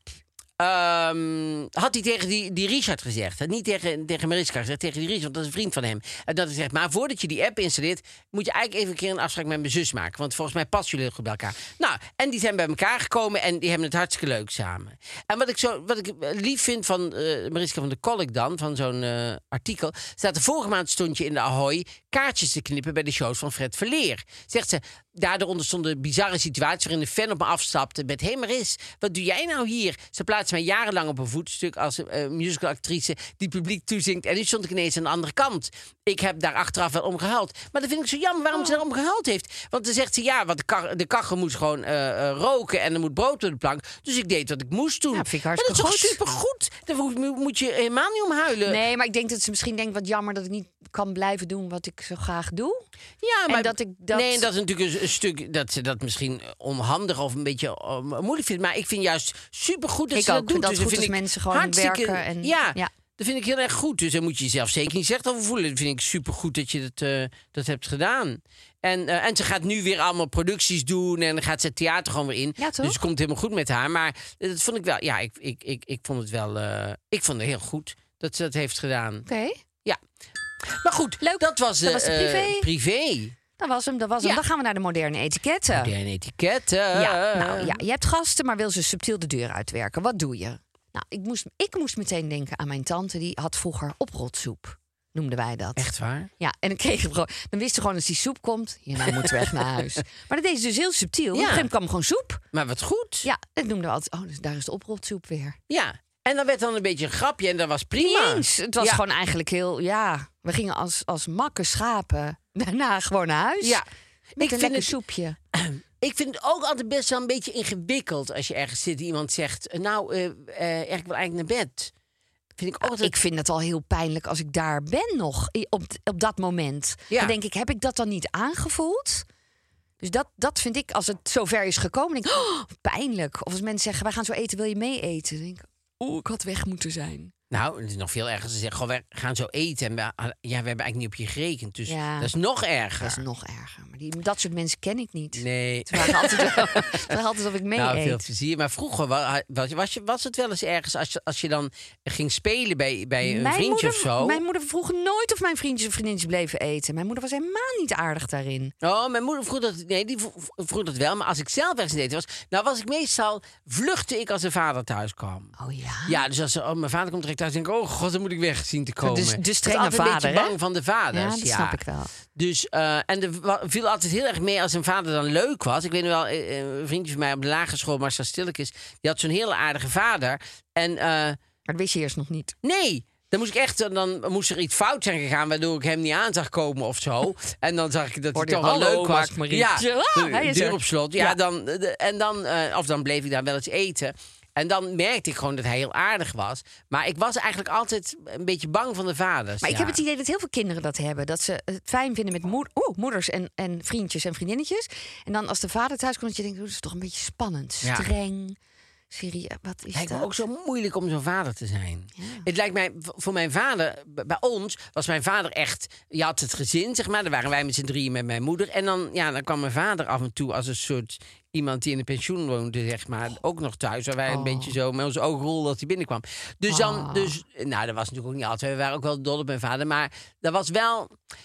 B: ehm, had hij tegen die, die Richard gezegd. hè? Niet tegen, tegen Mariska gezegd, tegen die Richard, want dat is een vriend van hem. En dat hij zegt, maar voordat je die app installeert... moet je eigenlijk even een keer een afspraak met mijn zus maken. Want volgens mij passen jullie heel goed bij elkaar. Nou, en die zijn bij elkaar gekomen en die hebben het hartstikke leuk samen. En wat ik, zo, wat ik eh, lief vind van eh, Mariska van der Kolk dan... van zo'n eh, artikel... staat er vorige maand stond je in de Ahoy... kaartjes te knippen bij de shows van Fred Verleer. Zegt ze, daardoor ontstond een bizarre situatie... waarin een fan op me afstapte met... Hé hey Maris, wat doe jij nou hier? Ze plaatste mij jarenlang op een voetstuk als eh, musicalactrice... die publiek toezingt en nu stond ik ineens aan de andere kant. Ik heb daar achteraf wel om gehuild. Maar dat vind ik zo jammer waarom
A: Oh.
B: ze daarom gehuild heeft. Want dan zegt ze, ja, want de, kar- de kachel moet gewoon eh, eh, roken... en er moet brood door de plank. Dus ik deed wat ik moest doen.
A: Ja, vind ik
B: maar dat is
A: hartstikke
B: toch
A: goed.
B: supergoed? Daar hoef- moet je helemaal niet om huilen.
A: Nee, maar ik denk dat ze misschien denkt, wat jammer dat ik niet kan blijven doen wat ik zo graag doe.
B: Ja,
A: En
B: maar
A: dat ik dat-
B: Nee, en dat is natuurlijk een, een stuk dat ze dat misschien onhandig of een beetje eh, moeilijk vindt. Maar ik vind juist supergoed dat
A: Ik
B: ze dat
A: ook,
B: doet.
A: dat
B: dus
A: goed
B: vind
A: als
B: ik
A: mensen gewoon
B: hartstikke-
A: werken en-
B: ja,
A: ja.
B: dat vind ik heel erg goed. Dus daar moet je jezelf zeker niet slecht over voelen. Dat vind ik supergoed dat je dat, eh, dat hebt gedaan. En, eh, en ze gaat nu weer allemaal producties doen en dan gaat ze het theater gewoon weer in.
A: Ja, toch?
B: Dus het komt helemaal goed met haar. Maar eh, dat vond ik wel, ja, ik, ik, ik, ik vond het wel, eh, ik vond het heel goed dat ze dat heeft gedaan.
A: Oké,
B: Ja. Maar goed,
A: Leuk.
B: dat was,
A: Dat
B: eh,
A: was de privé.
B: eh, privé.
A: dat was hem, dat was hem.
B: Ja.
A: Dan gaan we naar de moderne etiketten.
B: Moderne etiketten.
A: Ja, nou, ja, je hebt gasten, maar wil ze subtiel de deur uitwerken. Wat doe je? Nou, ik moest, ik moest meteen denken aan mijn tante. Die had vroeger oprotsoep, noemden wij dat.
B: Echt waar?
A: Ja, en dan, kreeg je gewoon, dan wist ze gewoon als die soep komt, je nou moet weg naar huis. Maar dat deed ze dus heel subtiel. Op een gegeven moment kwam gewoon soep.
B: Maar wat goed.
A: Ja, dat noemden we altijd, oh, dus daar is de oprotsoep weer.
B: Ja. En dan werd dan een beetje een grapje en dat was prima.
A: Niet eens. Het was
B: Ja.
A: gewoon eigenlijk heel, ja, we gingen als, als makke schapen daarna gewoon naar huis.
B: Ja.
A: Met
B: Ik
A: een
B: vind
A: lekker
B: het-
A: soepje.
B: Ik vind het ook altijd best wel een beetje ingewikkeld als je ergens zit en iemand zegt... eh, Nou, eh eh, ik wil eigenlijk naar bed. Vind Ah, ik ook altijd...
A: Ik vind het al heel pijnlijk als ik daar ben nog, i- op, op dat moment.
B: Ja.
A: Dan denk ik, heb ik dat dan niet aangevoeld? Dus dat, dat vind ik, als het zover is gekomen, denk ik, oh, pijnlijk. Of als mensen zeggen, wij gaan zo eten, wil je mee eten? Dan denk ik, oeh, ik had weg moeten zijn.
B: Nou, het is nog veel erger. Ze zeggen gewoon, we gaan zo eten. En we, ah, ja, we hebben eigenlijk niet op je gerekend. Dus
A: Ja.
B: dat is nog erger.
A: Dat is nog erger. Maar die, dat soort mensen ken ik niet.
B: Nee.
A: Ze waren altijd, wel- ze waren altijd of ik mee
B: Nou, veel
A: eet.
B: plezier. Maar vroeger wa- was, was, je- was het wel eens ergens als je, als je dan ging spelen bij, bij een
A: Mijn
B: vriendje
A: moeder,
B: of zo.
A: mijn moeder vroeg nooit of mijn vriendjes of vriendinnetjes bleven eten. Mijn moeder was helemaal niet aardig daarin.
B: Oh, mijn moeder vroeg dat. Nee, die vro- vroeg dat wel. Maar als ik zelf ergens in eten was, nou was ik meestal vluchtte ik als de vader thuis kwam.
A: Oh ja.
B: Ja, dus als oh, mijn vader komt direct thuis, denk ik, oh god, dan moet ik weg zien te komen.
A: Dus- dus
B: Ik was
A: strenge
B: altijd een beetje
A: vader, hè?
B: bang van de
A: Ja,
B: vaders.
A: dat snap ik wel.
B: Dus, eh, en er wa- viel altijd heel erg mee als een vader dan leuk was. Ik weet nog wel, eh, eh, een vriendje van mij op de lagere school, Marcel Stillekes, die had zo'n hele aardige vader. En eh,
A: Maar dat wist je eerst nog niet.
B: Nee. Dan moest ik echt, dan moest er iets fout zijn gegaan, waardoor ik hem niet aan zag komen of zo. En dan zag ik dat hij
A: Hoorde
B: toch
A: je,
B: wel
A: "Hallo,
B: leuk was.
A: Max Marie."
B: Ja,
A: Ja, hij
B: de
A: is
B: deur
A: er.
B: op slot. Ja, Dan, de- en dan, eh, of dan bleef ik daar wel eens eten. En dan merkte ik gewoon dat hij heel aardig was. Maar ik was eigenlijk altijd een beetje bang van de vaders.
A: Maar ik
B: ja.
A: heb het idee dat heel veel kinderen dat hebben. Dat ze het fijn vinden met moed- oeh, moeders en, en vriendjes en vriendinnetjes. En dan als de vader thuis komt, dat je denkt, oh, dat is toch een beetje spannend.
B: Ja.
A: Streng. Serie, wat is
B: Het lijkt
A: dat?
B: me ook zo moeilijk om zo'n vader te zijn. Het lijkt mij, v- voor mijn vader, b- bij ons was mijn vader echt. Je had het gezin, zeg maar. Daar waren wij met z'n drieën met mijn moeder. En dan, ja, dan kwam mijn vader af en toe als een soort iemand die in de pensioen woonde, zeg maar, ook nog thuis. Waar wij
A: Oh.
B: een beetje zo met ons oogrol dat hij binnenkwam. Dus dan, dus, nou, dat was natuurlijk ook niet altijd. We waren ook wel dol op mijn vader. Maar dat was wel. die-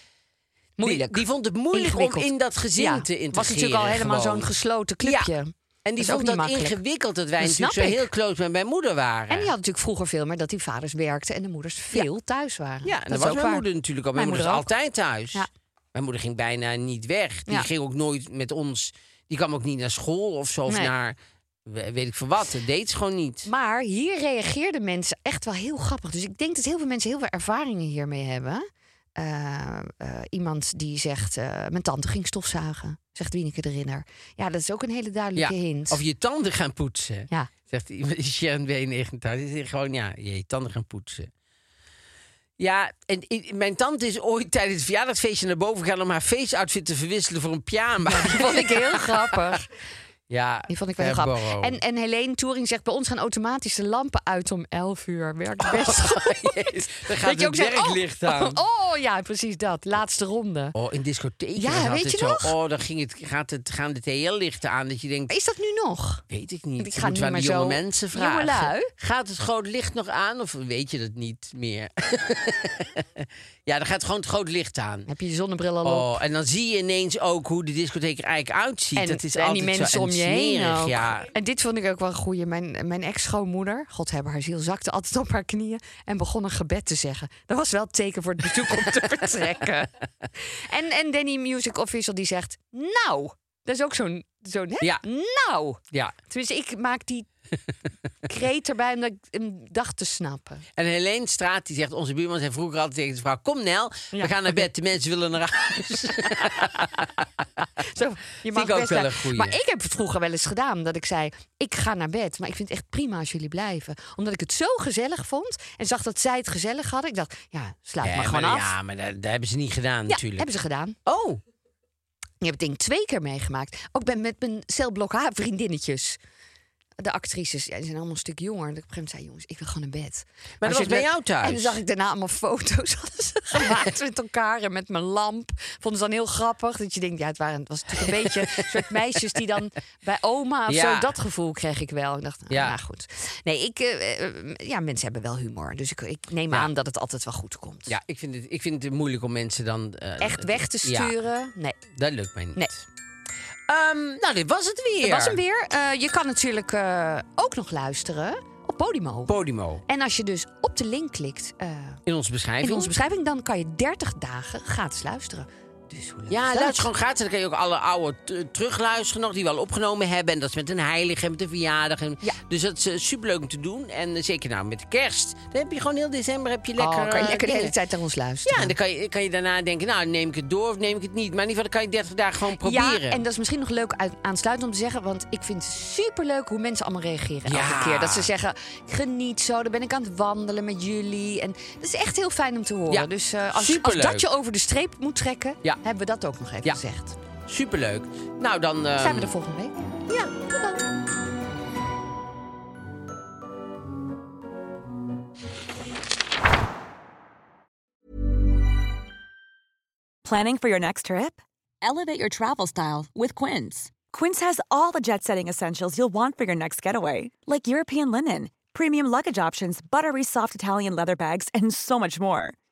A: Moeilijk.
B: Die, vond het moeilijk om
A: Ingewikkeld.
B: in dat gezin
A: Ja,
B: te integreren.
A: was natuurlijk al helemaal
B: gewoon.
A: zo'n gesloten clubje.
B: Ja. En die
A: is ook
B: vond
A: niet
B: dat
A: makkelijk.
B: ingewikkeld dat wij
A: Dat
B: natuurlijk zo
A: snap ik.
B: heel close met mijn moeder waren.
A: En die had natuurlijk vroeger veel meer dat die vaders werkten en de moeders veel thuis waren.
B: Ja, en
A: is
B: dat, was
A: ook
B: mijn
A: waar.
B: moeder natuurlijk al. Mijn,
A: Mijn
B: moeder was
A: moeder
B: altijd thuis.
A: Ja.
B: Mijn moeder ging bijna niet weg. Die
A: Ja.
B: ging ook nooit met ons. Die kwam ook niet naar school of zo. Of
A: Nee.
B: naar we- weet ik veel wat. Dat deed ze gewoon niet.
A: Maar hier reageerden mensen echt wel heel grappig. Dus ik denk dat heel veel mensen heel veel ervaringen hiermee hebben. Eh, eh, iemand die zegt, eh, mijn tante ging stofzuigen, zegt Wieneke de Rinner. Ja, dat is ook een hele duidelijke hint.
B: Of je tanden gaan poetsen.
A: Ja.
B: Zegt iemand, Sharon B89. Die zegt gewoon, ja, je tanden gaan poetsen. Ja, en i- mijn tante is ooit tijdens het verjaardagsfeestje naar boven gegaan... om haar feestoutfit te verwisselen voor een pyjama.
A: vond ik heel grappig.
B: Ja, eh,
A: Die vond ik wel heel
B: Herborrow.
A: grappig. En, en Helene Touring zegt, bij ons gaan automatisch de lampen uit om 11 uur. Werkt best goed.
B: Jezus, dan Oh, gaat
A: Dat je ook
B: het
A: zegt,
B: werklicht
A: oh,
B: aan.
A: Oh, ja, precies dat. Laatste ronde.
B: Oh, in discotheken
A: Ja,
B: was het
A: weet
B: altijd
A: je
B: zo.
A: nog?
B: Oh, dan ging het, gaat het, gaan de TL-lichten aan. Dat je denkt,
A: Is dat nu nog?
B: weet ik niet.
A: Ik
B: Dat
A: ga
B: moeten we
A: nu
B: aan de
A: maar
B: jonge
A: zo-
B: mensen vragen.
A: Jongelui?
B: Gaat het groot licht nog aan of weet je dat niet meer? ja, dan gaat gewoon het groot licht aan.
A: Heb je je zonnebril al op?
B: Oh, en dan zie je ineens ook hoe de discotheek er eigenlijk uitziet.
A: En,
B: dat is
A: en
B: altijd
A: die
B: zo,
A: mensen om je
B: en
A: heen
B: smerig,
A: ook.
B: Ja.
A: En dit vond ik ook wel een goeie. Mijn, mijn ex-schoonmoeder, god hebben haar ziel, zakte altijd op haar knieën... en begon een gebed te zeggen. Dat was wel het teken voor het bezoek om te vertrekken. En, en Danny Music Official die zegt... Nou, dat is ook zo'n... zo'n hè?
B: Ja.
A: Nou.
B: ja.
A: Tenminste, ik maak die kreet erbij omdat ik hem dacht te snappen.
B: En Helene Straat die zegt, onze buurman zei vroeger altijd tegen zijn vrouw... Kom Nel, we
A: Ja.
B: gaan naar bed, de mensen willen naar huis.
A: Zo, je
B: ik ook
A: best
B: wel
A: blijven.
B: een goeie.
A: Maar ik heb het vroeger wel eens gedaan dat ik zei: ik ga naar bed, maar ik vind het echt prima als jullie blijven, omdat ik het zo gezellig vond en zag dat zij het gezellig hadden. Ik dacht: ja, sluit
B: Nee,
A: maar gewoon af.
B: Ja, maar dat, dat hebben ze niet gedaan
A: Ja,
B: natuurlijk.
A: hebben ze gedaan.
B: Oh,
A: Ik heb het ding twee keer meegemaakt. Ook ben met mijn celblok H vriendinnetjes. De actrices, ja, die zijn allemaal een stuk jonger. En ik op een gegeven moment zei, jongens, ik wil gewoon naar bed.
B: dat
A: als
B: was
A: je-
B: bij jou thuis.
A: En dan zag ik daarna allemaal foto's hadden ze gemaakt met elkaar en met mijn lamp. Vonden ze dan heel grappig. Dat je denkt, ja, het, waren, het was natuurlijk een beetje een soort meisjes die dan bij oma of
B: Ja.
A: zo. Dat gevoel kreeg ik wel. Ik dacht, nou,
B: Ja.
A: ja, goed. Nee, ik, eh, eh, ja, mensen hebben wel humor. Dus ik, ik neem aan dat het altijd wel goed komt.
B: Ja, ik vind het, ik vind het moeilijk om mensen dan... eh,
A: Echt weg te
B: ja,
A: sturen? Nee.
B: dat lukt mij niet.
A: Nee.
B: Ehm, nou, dit was het weer.
A: Dat was hem weer. Eh, je kan natuurlijk eh, ook nog luisteren op Podimo.
B: Podimo.
A: en als je dus op de link klikt eh,
B: In onze beschrijving.
A: in onze beschrijving, dan kan je 30 dagen gratis luisteren. Dus hoe leuk
B: Ja,
A: is dat?
B: luister gewoon gratis. Dan kan je ook alle oude t- terugluisteren nog, die we al opgenomen hebben. En dat is met een heilige en met een verjaardag. En,
A: Ja.
B: Dus dat is eh, superleuk om te doen. En eh, zeker nou met kerst. Dan heb je gewoon heel december heb je lekker...
A: oh, kan je
B: eh,
A: lekker de hele
B: dingen.
A: tijd naar ons
B: Ja,
A: luisteren.
B: en dan kan je, kan je daarna denken, nou, neem ik het door of neem ik het niet. Maar in ieder geval, dan kan je 30 dagen gewoon proberen.
A: Ja, en dat is misschien nog leuk uit- aansluitend om te zeggen. Want ik vind het superleuk hoe mensen allemaal reageren
B: Ja.
A: elke keer. Dat ze zeggen, "Ik geniet zo, dan ben ik aan het wandelen met jullie. En dat is echt heel fijn om te horen.
B: Ja,
A: Dus eh, als, als
B: superleuk.
A: dat je over de streep moet trekken,
B: Ja.
A: hebben we dat ook nog even
B: Ja.
A: gezegd.
B: Superleuk. Nou, dan... ehm,
A: Zijn we er volgende week? Ja, tot dan.
D: Planning for your next trip? Elevate your travel style with Quince. Quince has all the jet setting essentials you'll want for your next getaway, like European linen, premium luggage options, buttery soft Italian leather bags, and so much more.